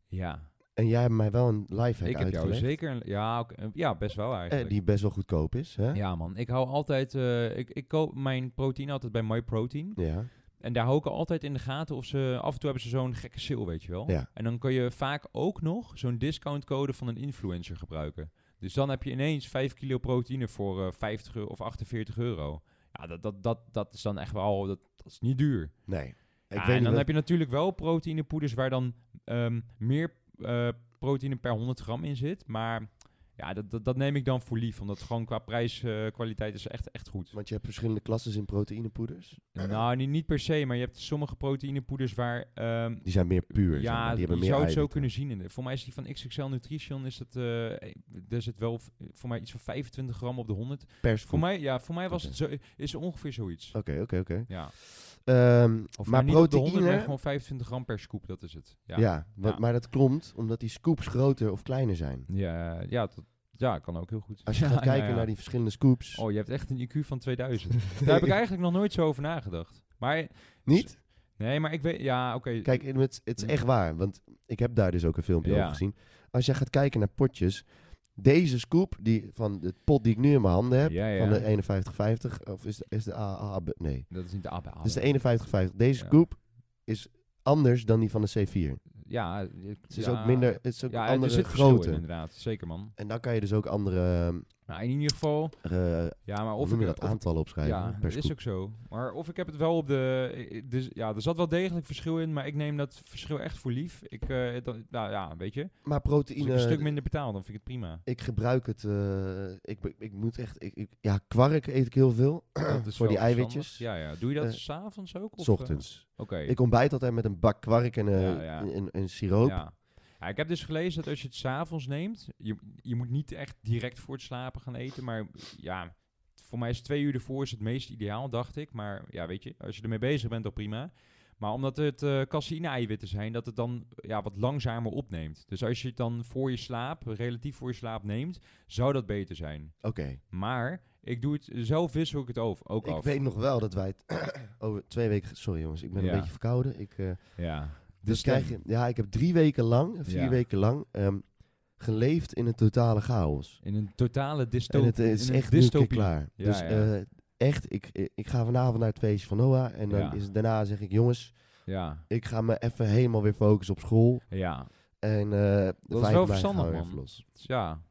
S3: Ja.
S1: En jij hebt mij wel een live
S3: Ik heb jou zeker... een- Ja, oké, eh, ja, best wel eigenlijk.
S1: die best wel goedkoop is, hè?
S3: Ja man, ik hou altijd... eh, ik, ik koop mijn proteïne altijd bij MyProtein.
S1: Ja.
S3: En daar hou ik altijd in de gaten of ze... Af en toe hebben ze zo'n gekke sale, weet je wel.
S1: Ja.
S3: En dan kun je vaak ook nog zo'n discountcode van een influencer gebruiken. Dus dan heb je ineens 5 kilo proteïne voor eh, 50 euro of 48 euro. Ja, dat, dat, dat, dat is dan echt wel... Dat, dat is niet duur.
S1: Nee. Ik
S3: Ja,
S1: weet
S3: en
S1: niet
S3: dan
S1: wat-
S3: heb je natuurlijk wel proteïnepoeders waar dan ehm, meer eh, proteïne per 100 gram in zit. Maar ja, dat, dat, dat neem ik dan voor lief, omdat gewoon qua prijs-kwaliteit is echt, echt goed.
S1: Want je hebt verschillende klassen in proteïnepoeders.
S3: Nou, niet, niet per se, maar je hebt sommige proteïnepoeders waar... ehm,
S1: Die zijn meer puur. zeg maar.
S3: ja,
S1: die
S3: je
S1: hebben meer
S3: zou het zo
S1: eiwitten.
S3: kunnen zien. In de, voor mij is die van XXL Nutrition, is dat, eh, daar zit wel v- voor mij iets van 25 gram op de 100.
S1: Pers
S3: Voor mij, ja, voor mij was het zo, is ongeveer zoiets.
S1: Oké, oké, oké.
S3: Ja.
S1: Ehm,
S3: Of
S1: Maar
S3: niet op de 100, maar
S1: proteïne...
S3: gewoon 25 gram per scoop, dat is het.
S1: Ja,
S3: ja.
S1: want-
S3: Ja.
S1: maar dat klopt omdat die scoops groter of kleiner zijn.
S3: Ja, ja, dat, ja, kan ook heel goed.
S1: Als je gaat
S3: Ja,
S1: kijken
S3: ja, ja.
S1: naar die verschillende scoops...
S3: Oh, je hebt echt een IQ van 2000. Daar heb ik eigenlijk nog nooit zo over nagedacht. Maar,
S1: Niet?
S3: nee, maar ik weet... Ja, oké.
S1: Kijk, en het, het is echt waar, want ik heb daar dus ook een filmpje
S3: Mm. Ja.
S1: over gezien. Als jij gaat kijken naar potjes... Deze scoop die, van de pot die ik nu in mijn handen heb,
S3: Ja, ja.
S1: van de 51,50, of is de, is de AAA... be- Nee,
S3: Dat is niet de ABA.
S1: het is dus de 51,50. Deze
S3: Ah, Ja.
S1: scoop is anders dan die van de C4.
S3: Ja, het
S1: Het is ook minder, het is ook
S3: Ja, er
S1: andere
S3: zit verschil in,
S1: grootte.
S3: inderdaad. Zeker, man.
S1: En dan kan je dus ook andere
S3: Nou, in ieder geval...
S1: eh, eh,
S3: Ja, maar
S1: hoe
S3: of
S1: noem
S3: ik...
S1: je dat
S3: of-
S1: aantal opschrijven
S3: ja,
S1: per
S3: dat is
S1: scoop.
S3: ook zo. Maar of ik heb het wel op de... eh, Dus, ja, er zat wel degelijk verschil in, maar ik neem dat verschil echt voor lief. Ik, eh, dat- nou ja, weet je.
S1: Maar
S3: Als
S1: proteïne,
S3: ik een stuk minder betaal, dan vind ik het prima.
S1: ik gebruik het, eh, ik, be- ik moet echt, ik, ik- ja, kwark eet ik heel veel,
S3: Dat is
S1: Voor
S3: wel
S1: die eiwitjes?
S3: verstandig. Ja, ja. Doe je dat
S1: Eh,
S3: s'avonds ook? Of,
S1: s
S3: eh,
S1: ochtends.
S3: Oké.
S1: Ik ontbijt altijd met een bak kwark en eh,
S3: Ja, ja.
S1: een een siroop.
S3: Ja. Ja, ik heb dus gelezen dat als je het s'avonds neemt, je, je moet niet echt direct voor het slapen gaan eten, maar ja, voor mij is twee uur ervoor is het meest ideaal, dacht ik. Maar ja, weet je, als je ermee bezig bent, dan prima. Maar omdat het eh caseïne-eiwitten zijn, dat het dan ja, wat langzamer opneemt. Dus als je het dan voor je slaap, relatief voor je slaap neemt, zou dat beter zijn.
S1: Oké,
S3: Maar ik doe het, zelf wissel ik het over, ook
S1: ik
S3: af.
S1: weet nog wel dat wij het over twee weken, sorry jongens, ik ben
S3: Ja.
S1: een beetje verkouden. Ik, eh,
S3: Ja.
S1: dus
S3: dan-
S1: krijg je, ja, ik heb drie weken lang, vier
S3: Ja.
S1: weken lang, ehm, geleefd in een totale chaos.
S3: In een totale
S1: En
S3: dystopie.
S1: het is
S3: in een
S1: echt nu een keer
S3: dystopie.
S1: klaar.
S3: Ja,
S1: dus
S3: ja.
S1: eh, echt, ik, ik- ik ga vanavond naar het feestje van Noah. En dan
S3: Ja.
S1: is het daarna zeg ik, jongens,
S3: Ja,
S1: ik ga me even helemaal weer focussen op school.
S3: ja.
S1: En eh de
S3: wel
S1: 5 mei
S3: verstandig,
S1: gaan we weer
S3: man.
S1: even los. Ah,
S3: Ja.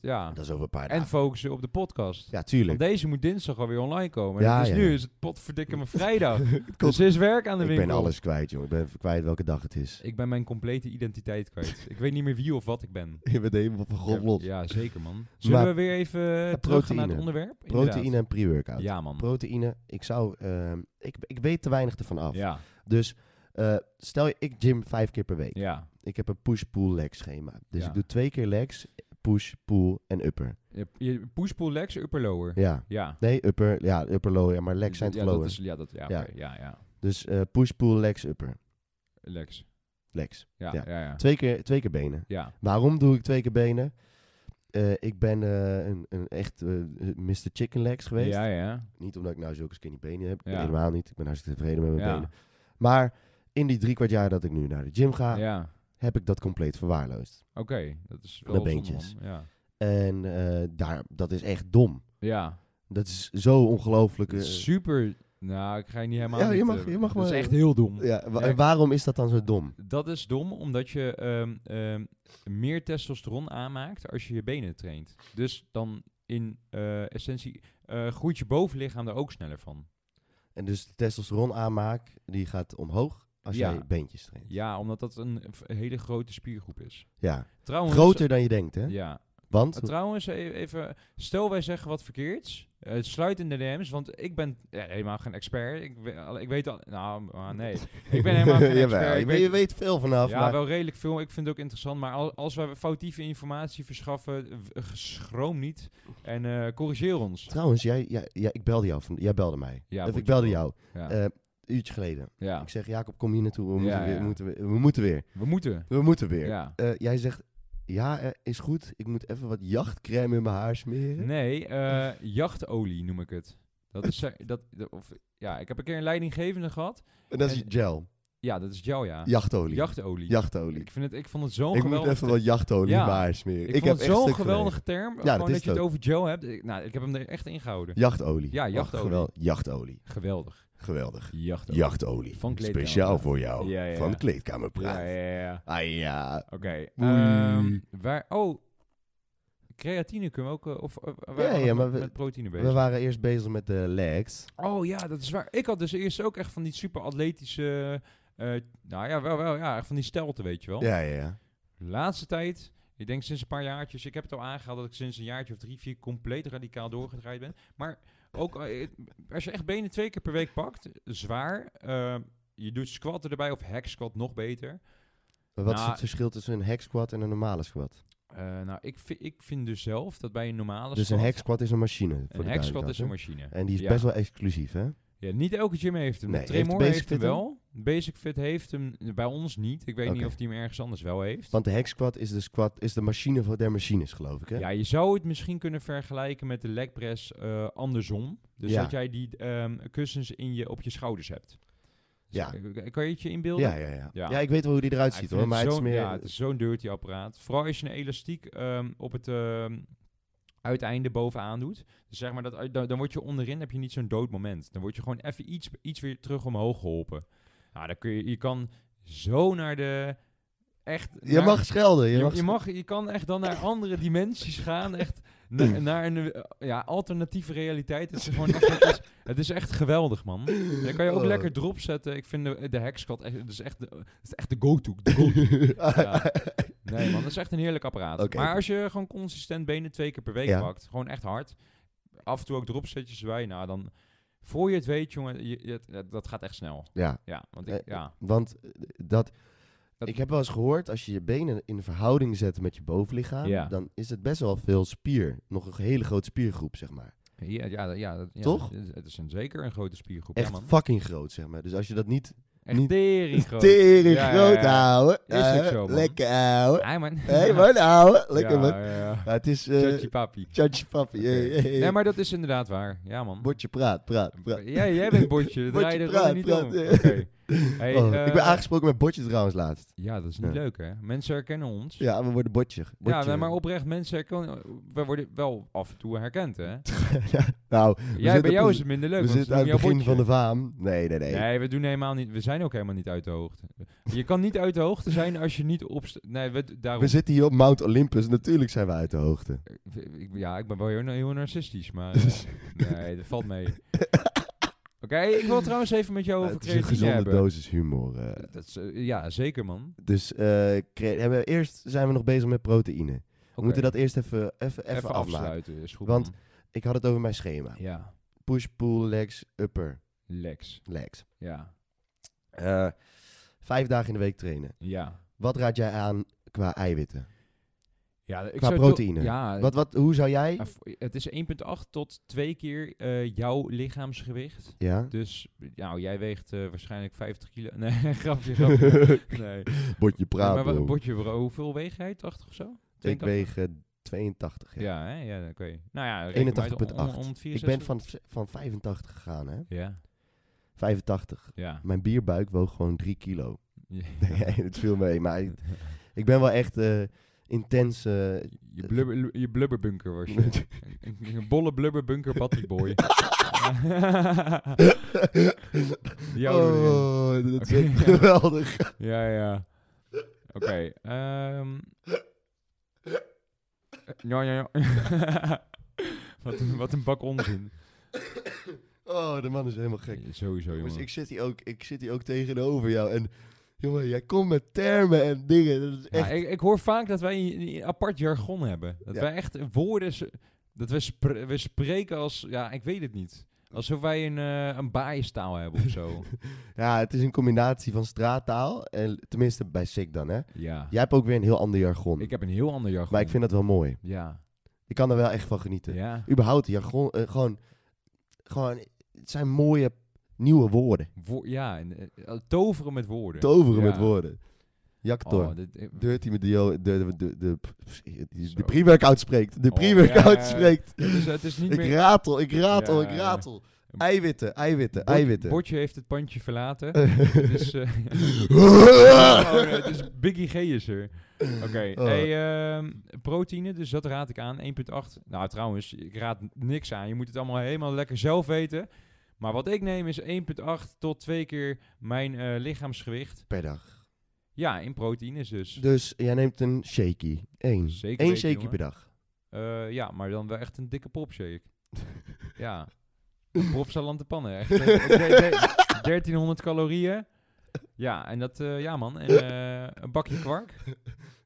S3: Ja.
S1: Dat is over een paar
S3: En
S1: dagen.
S3: focussen op de podcast.
S1: Ja,
S3: Want
S1: tuurlijk.
S3: deze moet dinsdag alweer online komen.
S1: Ja,
S3: dus
S1: ja, ja.
S3: nu is het potverdikke me vrijdag.
S1: kost-
S3: dus er is werk aan de
S1: Ik
S3: winkel.
S1: ben alles kwijt, jongen. Ik ben even kwijt welke dag het is.
S3: Ik ben mijn complete identiteit kwijt. ik weet niet meer wie of wat ik ben.
S1: Je bent helemaal van god los.
S3: Ja, zeker man. Zullen
S1: Maar-
S3: we weer even terug gaan naar het
S1: proteïne.
S3: onderwerp? Inderdaad.
S1: Proteïne en pre-workout.
S3: Ja man.
S1: Proteïne, ik zou... ehm, ik, ik weet te weinig ervan af.
S3: Ja,
S1: Dus eh, stel je, ik gym vijf keer per week.
S3: ja.
S1: Ik heb een push-pull-leg schema. Dus
S3: Ja.
S1: ik doe twee keer legs, push, pull en upper.
S3: Je- je Push, pull, legs, upper, lower. Ja.
S1: Ja. Nee, upper, ja, upper lower, ja, maar legs zijn het
S3: ja,
S1: lower.
S3: Dat is, ja, dat, ja,
S1: Ja.
S3: oké, ja, ja.
S1: Dus eh, push, pull, legs, upper.
S3: Legs.
S1: Legs.
S3: Ja,
S1: Ja.
S3: ja, ja.
S1: Twee keer, twee keer benen.
S3: Ja,
S1: Waarom doe ik twee keer benen? Eh, ik ben eh, een, een echt eh, Mr. Chicken Legs geweest.
S3: ja, ja.
S1: Niet omdat ik nou zulke skinny benen heb.
S3: Ja.
S1: Helemaal niet. Ik ben hartstikke tevreden met mijn
S3: Ja.
S1: benen. Maar in die drie kwart jaar dat ik nu naar de gym ga,
S3: ja.
S1: heb ik dat compleet verwaarloosd.
S3: Oké, dat is wel
S1: De
S3: zonde,
S1: beentjes.
S3: man. Ja.
S1: En eh, daar, dat is echt dom.
S3: Ja,
S1: Dat is zo ongelooflijk. eh,
S3: super. Nou, ik ga je niet helemaal.
S1: Ja, je
S3: niet,
S1: mag-
S3: eh,
S1: je mag
S3: Dat
S1: maar-
S3: is echt heel dom.
S1: ja, wa-
S3: Ja.
S1: waarom is dat dan zo dom?
S3: Dat is dom omdat je ehm, ehm, meer testosteron aanmaakt als je je benen traint. Dus dan in eh, essentie eh, groeit je bovenlichaam er ook sneller van.
S1: En dus de testosteron aanmaak, die gaat omhoog als
S3: Ja.
S1: jij beentjes traint.
S3: Ja, omdat dat een v- hele grote spiergroep is.
S1: Ja.
S3: Trouwens,
S1: Groter dan je denkt, hè?
S3: Ja,
S1: Want,
S3: Uh, Trouwens, e- even, stel wij zeggen wat verkeerds, eh, sluit in de DM's, want ik ben eh, helemaal geen expert. Ik, we- al- ik weet al, nou, ah, nee, ik ben helemaal geen
S1: Jawel,
S3: expert.
S1: je,
S3: Ik
S1: weet,
S3: weet-
S1: je weet veel vanaf,
S3: ja,
S1: maar
S3: wel redelijk veel. Ik vind het ook interessant, maar al- als wij foutieve informatie verschaffen, w- eh, schroom niet en eh, corrigeer ons.
S1: trouwens, jij, jij, jij, ik belde jou, van, jij belde mij.
S3: Ja,
S1: of
S3: moet
S1: ik
S3: je
S1: belde
S3: wel.
S1: jou,
S3: Ja,
S1: eh, een uurtje geleden.
S3: ja.
S1: Ik zeg, Jacob, kom hier naartoe, we, moeten,
S3: Ja,
S1: weer,
S3: ja.
S1: we, moeten, weer- we moeten weer.
S3: we moeten.
S1: We moeten weer.
S3: Ja.
S1: Eh, jij zegt, ja, eh, is goed, ik moet even wat jachtcrème in mijn haar smeren.
S3: Nee, eh, jachtolie noem ik het. Dat is, ze- dat, dat- of, ja, ik heb een keer een leidinggevende gehad.
S1: En dat is
S3: En-
S1: gel.
S3: Ja, dat is gel, ja.
S1: Jachtolie.
S3: Jachtolie.
S1: Jachtolie.
S3: Ik, vind het, ik vond het zo'n
S1: Ik moet
S3: geweldig...
S1: even wat jachtolie
S3: Ja.
S1: in mijn haar smeren.
S3: Ik, vond
S1: heb
S3: het
S1: echt
S3: zo'n
S1: stuk geleden.
S3: geweldige term.
S1: dat
S3: gewoon dat,
S1: is
S3: je het
S1: het
S3: over Joe hebt. Ik- Nou, ik heb hem er echt ingehouden.
S1: Jachtolie.
S3: Ja,
S1: Och,
S3: jachtolie.
S1: geweld- jachtolie.
S3: Geweldig.
S1: Geweldig.
S3: Jachtolie.
S1: Jachtolie.
S3: Van Kleedkamer
S1: Speciaal
S3: Praat.
S1: voor jou.
S3: Ja, ja, ja.
S1: Van Kleedkamerpraat.
S3: Ja, ja, ja, ja.
S1: Ah ja.
S3: Oké.
S1: Oei.
S3: ehm, waar... Oh, creatine kunnen we ook... eh, Of, eh, wij
S1: Ja,
S3: waren
S1: ja, maar
S3: met,
S1: we-
S3: met proteïne bezig.
S1: We waren eerst bezig met de legs.
S3: Oh ja, dat is waar. Ik had dus eerst ook echt van die super atletische... eh, eh, nou ja, wel, wel. Ja, echt van die stelten, weet je wel.
S1: Ja, ja, ja.
S3: Laatste tijd, ik denk sinds een paar jaartjes, ik heb het al aangehaald dat ik sinds een jaartje of drie, vier compleet radicaal doorgedraaid ben. Maar ook eh, als je echt benen twee keer per week pakt, zwaar, eh, je doet squatten erbij of hack squat nog beter.
S1: Maar wat
S3: Nou,
S1: is het verschil tussen een hack squat en een normale squat?
S3: Eh, nou, ik, vi- ik vind dus zelf dat bij een normale
S1: Dus een
S3: squat,
S1: hack squat is een machine. voor de
S3: een hack squat
S1: duidelijkheid,
S3: is een
S1: hè?
S3: machine.
S1: En die is
S3: Ja.
S1: best wel exclusief, hè?
S3: Ja, niet elke gym heeft hem.
S1: Nee, heeft
S3: Tremor
S1: Basic
S3: heeft hem
S1: Fit hem?
S3: wel. Basic Fit heeft hem bij ons niet. Ik weet niet
S1: Oké.
S3: of die hem ergens anders wel heeft.
S1: Want de hack squat is de, squat, is de machine van der machines, geloof ik, hè?
S3: Ja, je zou het misschien kunnen vergelijken met de leg press eh, andersom. Dus
S1: Ja.
S3: dat jij die ehm, kussens in je, op je schouders hebt. Dus eh,
S1: Ja.
S3: K- Kan je het je inbeelden?
S1: ja, ja, ja.
S3: Ja.
S1: Ja, ik weet wel hoe die eruit
S3: Ja, ik
S1: ziet,
S3: vind
S1: hoor. Maar het is
S3: zo'n-
S1: meer...
S3: Ja, het is zo'n dirty apparaat. Vooral als je een elastiek ehm, op het ehm, uiteinde bovenaan doet. Dus zeg maar, dat, uit- dan, dan word je onderin, heb je niet zo'n dood moment. Dan word je gewoon even iets, iets weer terug omhoog geholpen. Nou, dan kun je, je kan zo naar de... Echt
S1: je
S3: naar-
S1: mag schelden. Je,
S3: je,
S1: mag
S3: je, mag, je kan echt dan naar andere dimensies gaan. Echt na- naar een eh, ja, alternatieve realiteit. Het is, gewoon echt, het, is, het is echt geweldig, man. En Dan kan je ook
S1: Oh.
S3: lekker drop zetten. Ik vind de, de hekskot echt, het is echt de, het is echt de go-to. de go-to. Ja. Nee, man, dat is echt een heerlijk apparaat.
S1: Oké.
S3: Maar als je gewoon consistent benen twee keer per week
S1: Ja.
S3: pakt, gewoon echt hard. Af en toe ook dropsetjes erbij. Nou, dan voor je het weet, jongen, je, je- het- dat gaat echt snel.
S1: ja,
S3: Ja, want ik,
S1: Eh,
S3: ja,
S1: want eh, dat,
S3: Dat-
S1: Ik heb wel eens gehoord, als je je benen in verhouding zet met je bovenlichaam...
S3: Ja.
S1: dan is het best wel veel spier. Nog een hele grote spiergroep, zeg maar.
S3: ja, ja, dat- ja, dat- ja,
S1: Toch?
S3: Het, het is een, zeker een grote spiergroep.
S1: Echt
S3: ja, man.
S1: fucking groot, zeg maar. Dus als je dat niet
S3: Echt
S1: Niet-
S3: tering groot.
S1: tering
S3: Ja,
S1: groot
S3: ja, ja.
S1: houden...
S3: Is ook
S1: eh,
S3: zo, man.
S1: lekker houden.
S3: Hey man.
S1: Hé, hey, man, houden. Lekker,
S3: ja,
S1: man.
S3: Ja, ja.
S1: Ja, het is...
S3: Tjotje
S1: eh
S3: papi.
S1: Tjatje papi. hey,
S3: Oké.
S1: hey, hey.
S3: Nee, maar dat is inderdaad waar. Ja, man.
S1: Bordje praat, praat, praat.
S3: Ja, jij bent
S1: Bordje,
S3: bordje. Draai je er
S1: praat,
S3: gewoon niet
S1: praat,
S3: om.
S1: ja.
S3: Oké. Hey,
S1: Oh,
S3: eh,
S1: ik ben aangesproken met bordje trouwens laatst.
S3: Ja, dat is niet
S1: Ja.
S3: leuk, hè? Mensen herkennen ons. Ja,
S1: Ja, we worden botje. Botje.
S3: nee, maar oprecht, mensen herkennen... We worden wel af en toe herkend, hè?
S1: ja, nou,
S3: Jij,
S1: zitten
S3: bij jou
S1: op-
S3: is het minder leuk,
S1: we
S3: want
S1: zitten
S3: ze
S1: aan
S3: doen
S1: het
S3: jouw
S1: begin van
S3: bordje.
S1: de faam. Nee, nee, nee.
S3: Nee, we doen helemaal niet... We zijn ook helemaal niet uit de hoogte. Je kan niet uit de hoogte zijn als je niet op... Nee, we, daarom...
S1: we zitten hier op Mount Olympus. Natuurlijk zijn we uit de hoogte.
S3: Ik- ik- ja, ik ben wel heel, heel narcistisch, maar eh, nee, dat valt mee. Oké, ik wil trouwens even met jou
S1: Maar
S3: over
S1: het is een
S3: creatine
S1: gezonde
S3: hebben.
S1: dosis humor. eh.
S3: Dat is, eh, ja, zeker man.
S1: Dus eh, cre- hebben we- eerst zijn we nog bezig met proteïne. We moeten dat eerst even, even, even, afmaken.
S3: afsluiten, is goed.
S1: Want-
S3: man.
S1: Ik had het over mijn schema.
S3: ja,
S1: Push, pull, legs, upper,
S3: Lex,
S1: legs.
S3: ja,
S1: Eh, vijf dagen in de week trainen.
S3: ja.
S1: Wat raad jij aan qua eiwitten?
S3: ja ik
S1: Qua
S3: zou
S1: proteïne.
S3: toch- Ja,
S1: Wat, wat, hoe zou jij...
S3: eh, v- het is 1,8 tot 2 keer eh, jouw lichaamsgewicht.
S1: Ja?
S3: Dus, nou, jij weegt eh, waarschijnlijk 50 kilo. Nee, grapje, grapje. nee.
S1: Bordje praat,
S3: maar wat,
S1: bro.
S3: bordje, bro, hoeveel weeg jij? 80 of zo?
S1: Ik
S3: 82?
S1: weeg eh, 82. Ja.
S3: Ja, hè? ja oké. Nou ja, reken maar uit,
S1: 81,8.
S3: om- om
S1: Ik
S3: het 64.
S1: ben van, van 85 gegaan, hè?
S3: Ja,
S1: 85.
S3: ja.
S1: Mijn bierbuik woog gewoon 3 kilo.
S3: Je,
S1: Nee, het viel mee. Maar ik, ik ben wel echt eh, intens. eh,
S3: je, blubber, je blubberbunker was je. een, een- een bolle blubberbunker Patty Boy. ja,
S1: oh, dat is
S3: Oké.
S1: echt geweldig.
S3: ja, ja. Oké. ehm. Eh, ja, ja, ja. wat, een, wat een bak onzin.
S1: Oh, de man is helemaal gek.
S3: Sowieso,
S1: Jongens,
S3: jongen.
S1: ik zit, hier ook, ik zit hier ook tegenover jou. En jongen, jij komt met termen en dingen. Dat is
S3: Ja,
S1: echt.
S3: ik, ik hoor vaak dat wij een een apart jargon hebben. Dat
S1: Ja.
S3: wij echt woorden... s- Dat we, spre- we spreken als... Ja, ik weet het niet. Alsof wij een, eh een baaistaal hebben of zo.
S1: Ja, het is een combinatie van straattaal. En, tenminste, bij Sik dan, hè?
S3: ja.
S1: Jij hebt ook weer een heel ander jargon.
S3: Ik heb een heel ander jargon.
S1: maar ik vind dat wel mooi.
S3: Ja.
S1: Ik kan er wel echt van genieten.
S3: ja.
S1: Überhaupt, jargon, eh, gewoon, gewoon, het zijn mooie nieuwe woorden.
S3: Wo- ja. En, eh, toveren met woorden.
S1: Toveren
S3: Ja.
S1: met woorden. Jactor.
S3: Oh, dit, eh,
S1: Dirty met de, de, de, de, de, de,
S3: Zo.
S1: pre-workout spreekt. De
S3: Oh,
S1: pre-workout
S3: ja, ja, ja.
S1: spreekt.
S3: het, is, het is niet
S1: Ik
S3: meer...
S1: ratel, ik ratel,
S3: Ja,
S1: ik
S3: ja.
S1: ratel. Eiwitten, eiwitten,
S3: Bot-
S1: eiwitten.
S3: Botje heeft het pandje verlaten. het is, eh, gewoon, eh, het is Biggie G is er. Oké,
S1: Oh.
S3: hey, ehm, proteïne, dus dat raad ik aan. 1,8. Nou, trouwens, ik raad n- niks aan. Je moet het allemaal helemaal lekker zelf weten. Maar wat ik neem is 1,8 tot 2 keer mijn eh, lichaamsgewicht.
S1: per dag.
S3: Ja, in proteïnes dus.
S1: Dus jij neemt een shaky. Eén.
S3: Zeker
S1: Eén
S3: weten,
S1: shaky
S3: jongen.
S1: per dag.
S3: Eh, ja, maar dan wel echt een dikke popshake. ja. Een prop zal aan de pannen. Echt, eh, de- de- 1300 calorieën. Ja, en dat, eh, ja man. En eh, een bakje kwark.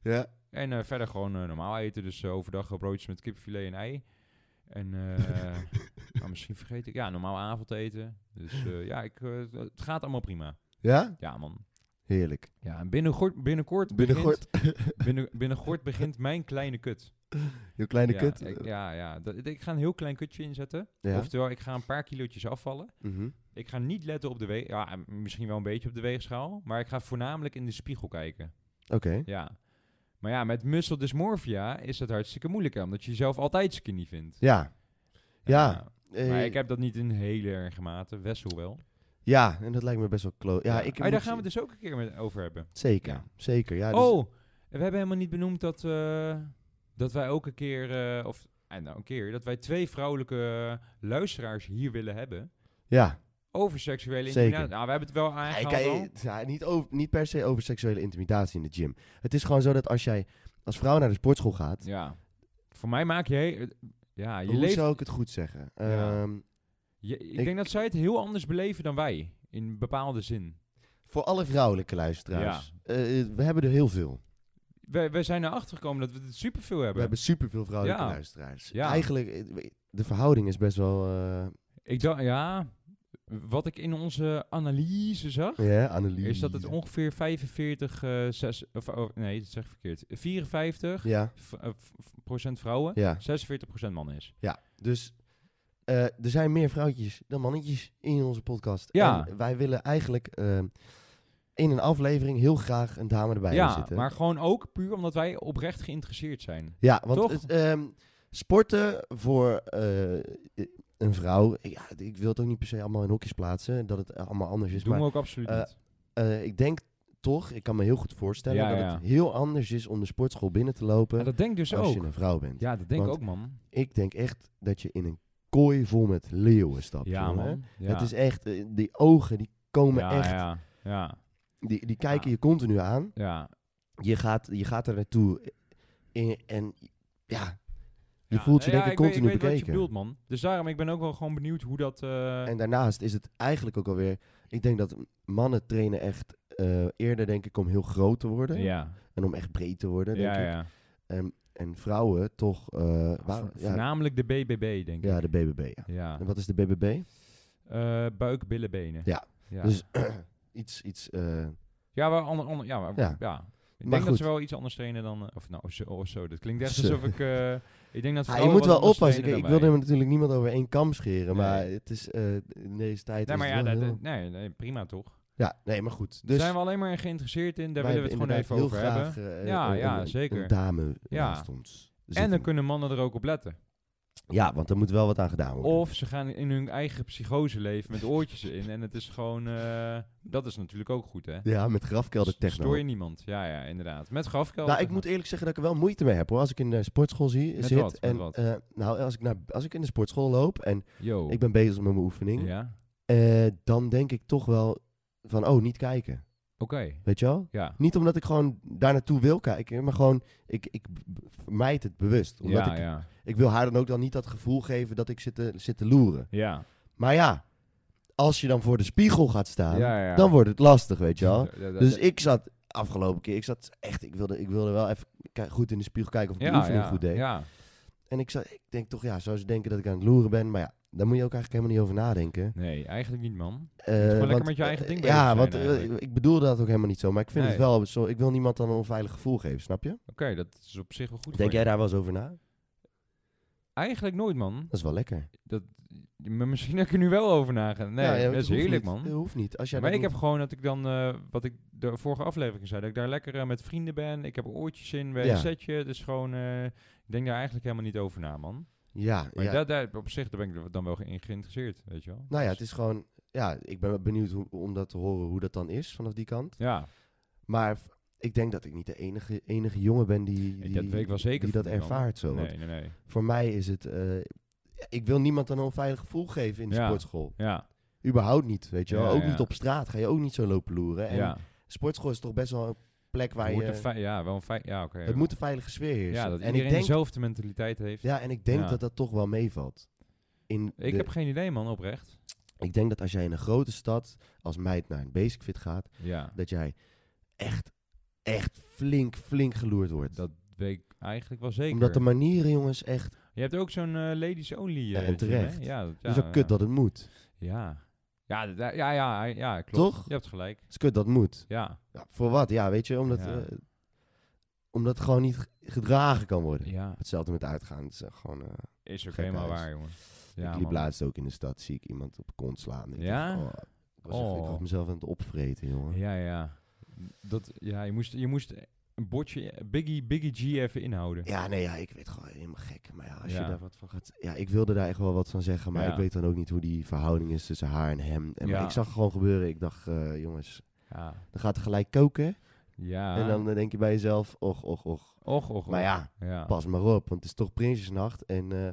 S1: Ja.
S3: En eh, verder gewoon eh, normaal eten. Dus eh, overdag eh, broodjes met kipfilet en ei. En eh, nou, misschien vergeet ik, ja, normaal avondeten. Dus eh, ja, ik, eh, het gaat allemaal prima.
S1: Ja?
S3: Ja man.
S1: Heerlijk.
S3: Ja, en binnenkort, binnenkort,
S1: Binnenkort.
S3: begint, binnen, binnenkort begint mijn kleine kut.
S1: Je kleine
S3: ja,
S1: kut.
S3: Ik, ja, ja. Dat, ik ga een heel klein kutje inzetten.
S1: Ja.
S3: Oftewel, ik ga een paar kilootjes afvallen.
S1: Mhm.
S3: Ik ga niet letten op de weeg... Ja, misschien wel een beetje op de weegschaal. Maar ik ga voornamelijk in de spiegel kijken.
S1: Oké.
S3: Ja. Maar ja, met muscle dysmorphia is dat hartstikke moeilijk. hè, Omdat je jezelf altijd skinny vindt.
S1: Ja. Ja.
S3: Ja. Maar
S1: eh,
S3: ik heb dat niet in hele erge mate. Wessel wel.
S1: Ja, en dat lijkt me best wel kloot. Ja, ik
S3: Ah, daar
S1: moet-
S3: gaan we het dus ook een keer met over hebben.
S1: Zeker,
S3: Ja.
S1: zeker. Ja, dus-
S3: Oh, we hebben helemaal niet benoemd dat, eh, dat wij ook een keer... eh, of, eh, nou, een keer. Dat wij twee vrouwelijke eh, luisteraars hier willen hebben.
S1: ja.
S3: Over seksuele
S1: Zeker.
S3: intimidatie. Nou, we hebben het wel
S1: Ja,
S3: aangehaald al.
S1: kijk, eh, ja, niet, over, niet per se over seksuele intimidatie in de gym. Het is gewoon zo dat als jij als vrouw naar de sportschool gaat,
S3: Ja. Voor mij maak je... he- Ja, je
S1: hoe
S3: leeft...
S1: zou ik het goed zeggen?
S3: Ja.
S1: Ehm,
S3: je- ik,
S1: ik-
S3: denk dat zij het heel anders beleven dan wij. In bepaalde zin.
S1: voor alle vrouwelijke luisteraars, eh, we hebben er heel veel.
S3: Wij, wij zijn erachter gekomen dat we het superveel
S1: We
S3: hebben.
S1: hebben superveel vrouwelijke
S3: Ja.
S1: luisteraars.
S3: Ja.
S1: Eigenlijk, eh, de verhouding is best wel... eh,
S3: Ik dacht, ja... Wat ik in onze analyse zag...
S1: ja, analyse.
S3: Is dat het ongeveer 45... eh, zes, of, oh, nee, dat zeg ik verkeerd. 54
S1: Ja,
S3: v- eh, v- procent vrouwen...
S1: ja,
S3: 46 procent mannen is.
S1: ja. Dus eh, er zijn meer vrouwtjes dan mannetjes in onze podcast.
S3: Ja.
S1: En wij willen eigenlijk eh, in een aflevering heel graag een dame erbij hebben
S3: ja,
S1: zitten.
S3: maar gewoon ook puur omdat wij oprecht geïnteresseerd zijn.
S1: Ja, want
S3: Toch?
S1: het, ehm, sporten voor eh, een vrouw... Ja, ik wil het ook niet per se allemaal in hokjes plaatsen. Dat het allemaal anders is.
S3: doen
S1: maar
S3: we ook absoluut
S1: eh,
S3: niet.
S1: eh, ik denk toch, ik kan me heel goed voorstellen...
S3: Ja,
S1: dat
S3: ja.
S1: het heel anders is om de sportschool binnen te lopen...
S3: Maar dat denk ik dus
S1: als je
S3: ook.
S1: een vrouw bent.
S3: Ja, dat denk ik
S1: Want-
S3: ook, man.
S1: Ik denk echt dat je in een kooi vol met leeuwen stapt.
S3: Ja,
S1: jongen.
S3: man. Ja.
S1: Het is echt, eh, die ogen die komen
S3: ja,
S1: echt,
S3: Ja, ja,
S1: Die, die kijken
S3: Ja.
S1: je continu aan.
S3: ja.
S1: Je gaat, je gaat er naartoe eh, in- en ja, je
S3: Ja.
S1: voelt je
S3: Ja,
S1: denk ik,
S3: ik
S1: continu
S3: weet, ik weet wat je
S1: bekeken.
S3: bedoelt, man. Dus daarom, ik ben ook wel gewoon benieuwd hoe dat... eh,
S1: En daarnaast is het eigenlijk ook alweer, ik denk dat mannen trainen echt eh, eerder denk ik om heel groot te worden.
S3: ja,
S1: En om echt breed te worden, denk
S3: ja,
S1: ik.
S3: ja.
S1: En, en vrouwen toch, eh, waar-
S3: Vo-
S1: ja,
S3: Voornamelijk de BBB, denk ik.
S1: ja, de BBB. Ja.
S3: Ja.
S1: En wat is de BBB?
S3: Eh, buik, billen, benen.
S1: Ja.
S3: Ja,
S1: Dus iets, iets... eh,
S3: ja, wel ander, ander, ja, maar,
S1: Ja.
S3: ja. Ik
S1: Maar
S3: denk
S1: goed.
S3: dat ze wel iets anders trainen dan... eh, Of nou, of zo, of zo. Dat klinkt echt
S1: Ze.
S3: alsof ik... eh, ik denk dat
S1: Ja, Ah, je
S3: vrouwen
S1: moet
S3: wat
S1: wel
S3: anders
S1: oppassen. Ik,
S3: trainen
S1: ik
S3: dan
S1: wilde
S3: wij.
S1: hem natuurlijk niemand over één kam scheren.
S3: Nee.
S1: Maar het is eh, in deze tijd.
S3: Nee,
S1: is
S3: maar
S1: het
S3: ja,
S1: wel
S3: dat,
S1: heel-
S3: dat- nee, nee, prima toch?
S1: ja, nee, maar goed.
S3: Daar
S1: Dus
S3: zijn we alleen maar in geïnteresseerd in. Daar willen we het gewoon even over hebben.
S1: eh, ja,
S3: Ja, ja,
S1: ja, zeker. Een
S3: zeker.
S1: dame
S3: Ja.
S1: naast ons.
S3: En
S1: zitten.
S3: dan kunnen mannen er ook op letten.
S1: Ja, want er moet wel wat aan gedaan worden.
S3: Of ze gaan in hun eigen psychose leven met oortjes in. En het is gewoon... eh, dat is natuurlijk ook goed, hè?
S1: Ja, met grafkelder
S3: S- Stoor
S1: techno.
S3: je niemand. Ja, ja, inderdaad. Met grafkelder.
S1: Nou, ik moet eerlijk zeggen dat ik er wel moeite mee heb hoor. Als ik in de sportschool zie,
S3: Met
S1: zit.
S3: wat? Met
S1: en,
S3: wat?
S1: eh, nou, als ik, naar, als ik in de sportschool loop en
S3: Yo.
S1: ik ben bezig met mijn oefening,
S3: Ja?
S1: eh, dan denk ik toch wel van, oh, niet kijken.
S3: Oké.
S1: Weet je wel?
S3: Ja.
S1: Niet omdat ik gewoon daar naartoe wil kijken, maar gewoon, ik, ik b- b- vermijd het bewust. Omdat
S3: Ja,
S1: ik,
S3: ja.
S1: ik wil haar dan ook dan niet dat gevoel geven dat ik zit te, zit te loeren.
S3: Ja.
S1: Maar ja, als je dan voor de spiegel gaat staan,
S3: Ja, ja.
S1: dan wordt het lastig, weet je wel.
S3: Ja, dat-
S1: Dus ik zat afgelopen keer, ik zat echt, ik wilde, ik wilde wel even ki- goed in de spiegel kijken of ik de
S3: ja,
S1: oefening
S3: ja,
S1: goed deed.
S3: Ja.
S1: En ik, zat, ik denk toch, ja, zou ze denken dat ik aan het loeren ben, maar ja. Daar moet je ook eigenlijk helemaal niet over nadenken.
S3: Nee, eigenlijk niet, man.
S1: Eh,
S3: lekker
S1: want,
S3: met je eigen
S1: eh,
S3: ding bezig
S1: Ja,
S3: zijn
S1: want eh,
S3: eigenlijk.
S1: ik bedoelde dat ook helemaal niet zo. Maar ik vind het
S3: Nee.
S1: wel zo. Ik wil niemand dan een onveilig gevoel geven, snap je?
S3: Oké, dat is op zich wel goed.
S1: Denk
S3: voor
S1: jij
S3: je.
S1: daar wel eens over na?
S3: Eigenlijk nooit, man.
S1: Dat is wel lekker.
S3: Dat, maar misschien heb ik er nu wel over nagaan. Nee,
S1: Ja, ja,
S3: dat
S1: het
S3: is
S1: hoeft
S3: heerlijk,
S1: niet.
S3: man.
S1: Het hoeft niet. Als jij
S3: maar
S1: dat
S3: ik heb
S1: doet-
S3: gewoon dat ik dan, eh, wat ik de vorige aflevering zei, dat ik daar lekker eh, met vrienden ben. Ik heb oortjes in bij
S1: Ja.
S3: een setje. Dus gewoon, eh, ik denk daar eigenlijk helemaal niet over na, man.
S1: Ja,
S3: Maar
S1: ja.
S3: daar, daar, op zich daar ben ik er dan wel in geïnteresseerd, weet je wel.
S1: nou ja,
S3: Dus-
S1: het is gewoon... Ja, ik ben benieuwd hoe, om dat te horen hoe dat dan is vanaf die kant.
S3: ja,
S1: Maar v- ik denk dat ik niet de enige, enige jongen ben die, die,
S3: dat weet ik wel zeker.
S1: die
S3: van
S1: dat
S3: niemand.
S1: ervaart zo. Want
S3: Nee, nee, nee.
S1: voor mij is het... eh, ik wil niemand een onveilig gevoel geven in de
S3: Ja.
S1: sportschool.
S3: Ja,
S1: Überhaupt niet, weet je wel.
S3: Ja,
S1: ook
S3: ja.
S1: niet op straat ga je ook niet zo lopen loeren. En
S3: ja.
S1: sportschool is toch best wel een plek waar
S3: Het moet
S1: je...
S3: een fei- ja, wel een fei- ja, oké.
S1: het moet een veilige sfeer heersen.
S3: Ja,
S1: en
S3: dat
S1: ik
S3: iedereen
S1: denk,
S3: dezelfde mentaliteit heeft.
S1: ja, en ik denk
S3: Ja.
S1: dat dat toch wel meevalt. In
S3: ik
S1: de-
S3: heb geen idee, man, oprecht.
S1: ik denk dat als jij in een grote stad als meid naar een basic fit gaat,
S3: Ja,
S1: dat jij echt, echt flink, flink geloerd wordt.
S3: dat weet ik eigenlijk wel zeker.
S1: Omdat de manieren, jongens, echt...
S3: Je hebt ook zo'n eh, ladies only. eh,
S1: Ja, en
S3: gym, hè?
S1: terecht.
S3: Ja, dat- ja,
S1: het is ook kut dat het moet. Het
S3: Ja. Ja, d- ja, ja, ja, ja, klopt.
S1: Toch?
S3: Je hebt gelijk.
S1: is kut dat het moet.
S3: Ja,
S1: Ja, voor wat? Ja, weet je, omdat,
S3: Ja.
S1: eh, omdat het gewoon niet g- gedragen kan worden.
S3: ja.
S1: Hetzelfde met uitgaan. Het is echt gewoon... eh,
S3: Is ook
S1: Gek
S3: helemaal
S1: huis.
S3: waar, jongen.
S1: ik
S3: Ja,
S1: liep
S3: man.
S1: laatst ook in de stad, zie ik iemand op kont slaan. Ik
S3: Ja?
S1: dacht, oh, ik, was echt- ik
S3: Oh.
S1: was mezelf aan het opvreten, jongen.
S3: Ja, ja. Dat, ja, je moest, je moest een bordje Biggie, Biggie G even inhouden.
S1: Ja, nee, ja, ik weet gewoon helemaal gek. Maar ja, als je
S3: Ja.
S1: daar wat van gaat... Ja, ik wilde daar echt wel wat van zeggen, maar
S3: Ja.
S1: ik weet dan ook niet hoe die verhouding is tussen haar en hem. En, maar
S3: Ja.
S1: ik zag het gewoon gebeuren. Ik dacht, eh, jongens,
S3: Ja.
S1: dan gaat het gelijk koken.
S3: Ja.
S1: En dan eh, denk je bij jezelf, och, och, och.
S3: Och, och,
S1: Maar
S3: och.
S1: ja,
S3: Ja.
S1: pas maar op, want het is toch Prinsjesnacht. En, eh,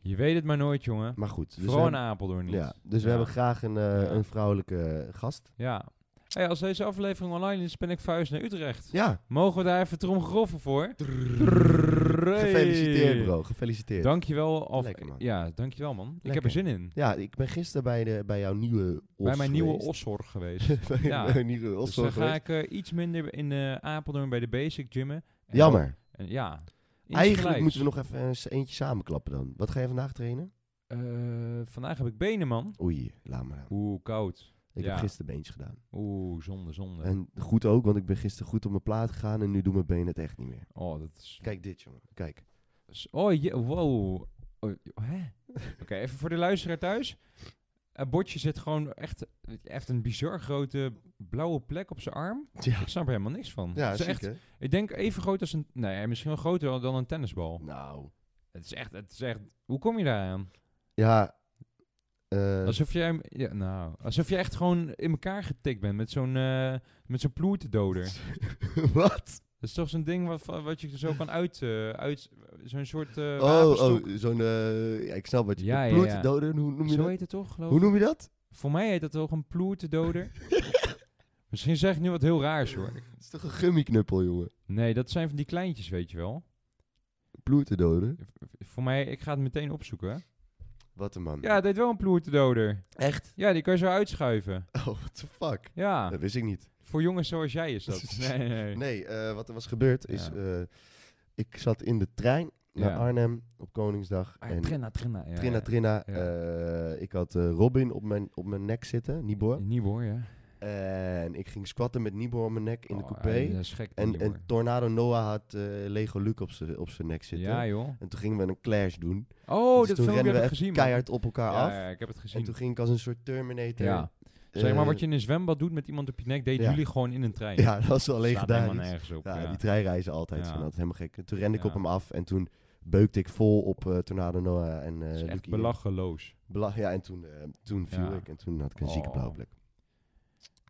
S3: Je weet het maar nooit, jongen.
S1: maar goed. Dus
S3: Vooral in
S1: we,
S3: Apeldoorn niet.
S1: ja, dus we
S3: Ja.
S1: hebben graag een, eh,
S3: Ja.
S1: een vrouwelijke gast.
S3: Ja. Hey, als deze aflevering online is, ben ik vuist naar Utrecht.
S1: Ja,
S3: Mogen we daar even tromgeroffen voor?
S1: gefeliciteerd
S3: Hey.
S1: bro, gefeliciteerd.
S3: Dankjewel. Of,
S1: Lekker, man.
S3: Ja, dankjewel man. Ik heb
S1: Lekker.
S3: er zin in.
S1: Ja, ik ben gisteren bij, de, bij jouw nieuwe os
S3: bij mijn nieuwe
S1: geweest.
S3: oshor geweest.
S1: bij
S3: ja.
S1: mijn nieuwe os
S3: dus dan
S1: geweest.
S3: ga ik eh, iets minder in eh Apeldoorn bij de basic gymmen. En
S1: Jammer.
S3: dan- en ja.
S1: Eigenlijk moeten we nog even eens eentje samenklappen dan. Wat ga je vandaag trainen?
S3: Eh, vandaag heb ik benen man.
S1: Oei, laat maar aan.
S3: Oeh, koud.
S1: Ik
S3: ja.
S1: heb gisteren beentjes gedaan.
S3: Oeh, zonde, zonde.
S1: En goed ook, want ik ben gisteren goed op mijn plaat gegaan en nu doen mijn benen het echt niet meer.
S3: Oh, dat is...
S1: Kijk dit, jongen. Kijk.
S3: S- Oh, je, wow. Oh, hè? Oké, even voor de luisteraar thuis. Een botje zit gewoon echt, echt een bizar grote blauwe plek op zijn arm.
S1: Ja,
S3: Ik snap er helemaal niks van.
S1: ja
S3: Het is
S1: ziek,
S3: echt,
S1: hè?
S3: ik denk even groot als een... Nee, misschien wel groter dan een tennisbal.
S1: Nou.
S3: Het is echt... Het is echt hoe kom je daar aan?
S1: Ja. eh,
S3: Alsof jij... hem- Ja, nou, alsof je echt gewoon in elkaar getikt bent met zo'n eh, met zo'n ploertendoder.
S1: Wat?
S3: Dat is toch zo'n ding wat, wat je zo kan uit... eh, uit zo'n soort eh
S1: oh,
S3: wapenstok.
S1: oh zo'n... eh, ja, ik snap wat je...
S3: Ja,
S1: Ja,
S3: ja, ja.
S1: Bloeddoder, hoe noem je
S3: Zo
S1: dat?
S3: heet het toch, geloof
S1: Hoe noem je dat?
S3: Voor mij heet dat ook een ploertedoder. Misschien zeg ik nu wat heel raars hoor.
S1: Het is toch een gummiknuppel, jongen?
S3: Nee, dat zijn van die kleintjes, weet je wel.
S1: Bloeddoder.
S3: Voor mij, ik ga het meteen opzoeken. hè.
S1: Wat een man.
S3: Ja, het heet wel een ploertedoder.
S1: Echt?
S3: Ja, die kan je zo uitschuiven.
S1: Oh, what the fuck?
S3: Ja,
S1: Dat wist ik niet.
S3: voor jongens zoals jij is dat. Nee, nee, nee.
S1: Nee, eh, wat er was gebeurd is...
S3: Ja.
S1: eh, ik zat in de trein naar
S3: Ja.
S1: Arnhem op Koningsdag.
S3: Ah,
S1: en
S3: Trinna, trinna. Ja,
S1: Trina, Trina.
S3: Ja.
S1: eh, ik had eh, Robin op mijn, op mijn nek zitten, Nibor.
S3: Nibor, ja.
S1: En ik ging squatten met Nibor op mijn nek in de
S3: Oh,
S1: coupé.
S3: ja, dat is gek,
S1: en,
S3: Nibor.
S1: en Tornado Noah had eh, Lego Luke op zijn op zijn nek zitten.
S3: Ja, joh.
S1: En toen gingen we een clash doen.
S3: Oh,
S1: Dus
S3: dat
S1: toen
S3: filmpje
S1: rennen
S3: heb
S1: we
S3: ik
S1: echt
S3: gezien. man.
S1: keihard op elkaar
S3: ja,
S1: af.
S3: ja, ik heb het gezien.
S1: En toen ging ik als een soort Terminator.
S3: Ja.
S1: eh,
S3: Zeg maar wat je in een zwembad doet met iemand op je nek, deed
S1: ja.
S3: jullie gewoon in een trein.
S1: Ja, dat was wel
S3: Slaat helemaal
S1: legendarisch.
S3: nergens op.
S1: Ja,
S3: ja.
S1: die treinreizen altijd.
S3: Ja.
S1: zijn altijd helemaal gek. En toen rende ik op
S3: Ja.
S1: hem af en toen beukte ik vol op eh, Tornado Noah en eh
S3: Dat is echt
S1: Lucky.
S3: belachelijk.
S1: Bela- ja, en toen, eh, toen viel
S3: Ja.
S1: ik en toen had ik een zieke
S3: Oh.
S1: blauwe plek.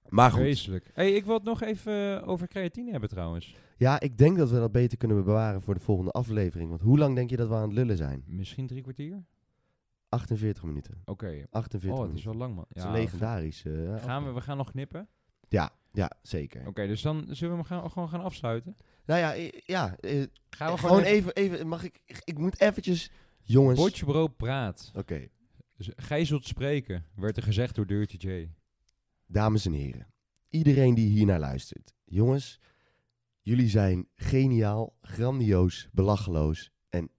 S1: Maar Ah, goed.
S3: Vreselijk. Hey, ik wil het nog even eh, over creatine hebben trouwens.
S1: Ja, ik denk dat we dat beter kunnen bewaren voor de volgende aflevering. Want hoe lang denk je dat we aan het lullen zijn?
S3: Misschien drie kwartier?
S1: 48 minuten.
S3: Oké.
S1: 48
S3: Oh, het is
S1: minuten.
S3: wel lang man.
S1: Het is een legendarisch. eh,
S3: Gaan we,
S1: aflevering.
S3: we gaan nog knippen.
S1: Ja, ja, zeker.
S3: Oké, dus dan zullen we hem gaan, gewoon gaan afsluiten.
S1: Nou ja, eh, ja eh,
S3: Gaan we
S1: gewoon, even, even, mag ik, ik moet eventjes, jongens. Oké,
S3: Bordje Bro praat. Z- Gij zult spreken, werd er gezegd door Dirty J.
S1: dames en heren. Iedereen die hiernaar luistert. Jongens, jullie zijn geniaal, grandioos, belacheloos en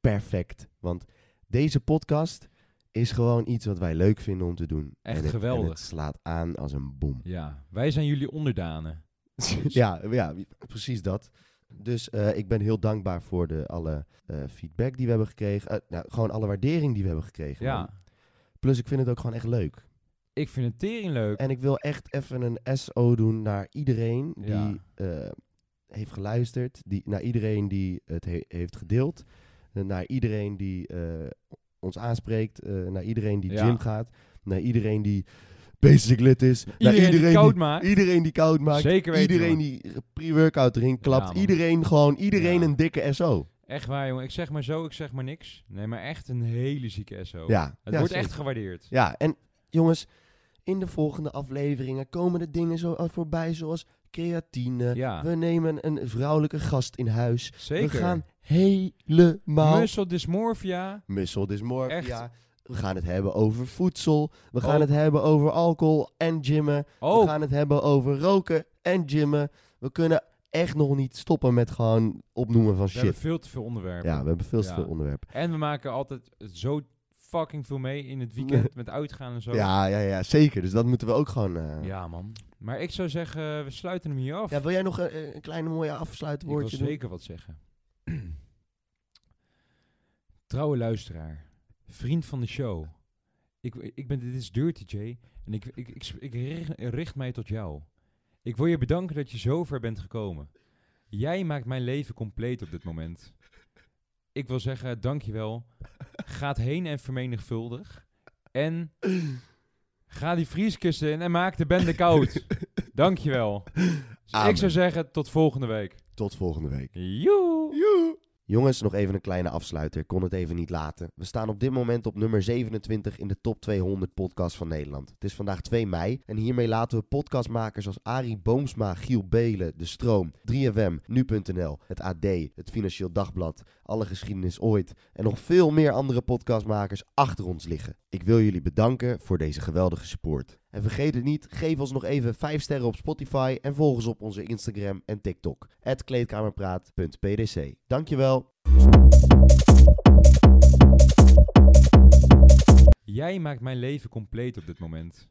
S1: perfect. Want deze podcast is gewoon iets wat wij leuk vinden om te doen.
S3: Echt
S1: en het,
S3: geweldig.
S1: En het slaat aan als een bom.
S3: Ja, wij zijn jullie onderdanen.
S1: ja, ja, precies dat. Dus eh, ik ben heel dankbaar voor de alle eh, feedback die we hebben gekregen. Eh, nou, gewoon alle waardering die we hebben gekregen. man.
S3: Ja,
S1: Plus ik vind het ook gewoon echt leuk.
S3: ik vind het tering leuk.
S1: En ik wil echt even een SO doen naar iedereen die
S3: Ja.
S1: eh, heeft geluisterd. Die, naar iedereen die het he- heeft gedeeld. eh, naar iedereen die eh, ons aanspreekt, eh, naar iedereen die
S3: Ja.
S1: gym gaat, naar iedereen die basic lid is, naar
S3: Iedereen, die koud
S1: die-
S3: maakt.
S1: iedereen die koud maakt,
S3: Zeker weten,
S1: iedereen
S3: man.
S1: die pre-workout erin klapt,
S3: Ja, man.
S1: iedereen gewoon, iedereen
S3: Ja. Oh,
S1: een dikke SO.
S3: Echt waar, jongen. Ik zeg maar zo, ik zeg maar niks. Nee, maar echt een hele zieke SO.
S1: Ja,
S3: Het
S1: ja,
S3: wordt
S1: zeker.
S3: echt gewaardeerd.
S1: Ja, en jongens, in de volgende afleveringen komen er dingen zo eh, voorbij zoals creatine.
S3: Ja,
S1: We nemen een vrouwelijke gast in huis.
S3: zeker.
S1: We gaan helemaal...
S3: Muscle dysmorphia.
S1: Muscle dysmorphia.
S3: Echt.
S1: We gaan het hebben over voedsel. We gaan
S3: Oh.
S1: het hebben over alcohol en gymmen. We
S3: Oh,
S1: gaan het hebben over roken en gymmen. We kunnen echt nog niet stoppen met gewoon opnoemen van
S3: we hebben
S1: shit.
S3: veel te veel onderwerpen.
S1: Ja, we hebben veel te
S3: Ja.
S1: veel onderwerpen.
S3: En we maken altijd zo fucking veel mee in het weekend met uitgaan en zo.
S1: Ja, ja, ja, zeker. Dus dat moeten we ook gewoon... eh,
S3: Ja, man. Maar ik zou zeggen, eh, we sluiten hem hier af.
S1: Ja, wil jij nog eh, een, een kleine mooie afsluitwoordje
S3: ik wil
S1: doen?
S3: zeker wat zeggen. Trouwe luisteraar, vriend van de show. Ik, ik ben, dit is Dirty J en ik, ik, ik, ik richt, richt mij tot jou. Ik wil je bedanken dat je zo ver bent gekomen. Jij maakt mijn leven compleet op dit moment. Ik wil zeggen, dankjewel. Gaat heen en vermenigvuldig. En ga die vrieskussen in en maak de bende koud. Dankjewel. Dus ik
S1: Amen.
S3: zou zeggen, tot volgende week.
S1: Tot volgende week.
S3: Joe!
S1: Jongens, nog even een kleine afsluiter. Ik kon het even niet laten. We staan op dit moment op nummer 27 in de top 200 podcast van Nederland. Het is vandaag 2 mei en hiermee laten we podcastmakers als Arie Boomsma, Giel Belen, De Stroom, 3FM, Nu.nl, het AD, het Financieel Dagblad, Alle Geschiedenis Ooit en nog veel meer andere podcastmakers achter ons liggen. Ik wil jullie bedanken voor deze geweldige support. En vergeet het niet, geef ons nog even 5 sterren op Spotify en volg ons op onze Instagram en TikTok. Het kleedkamerpraat.pdc. Dankjewel.
S3: Jij maakt mijn leven compleet op dit moment.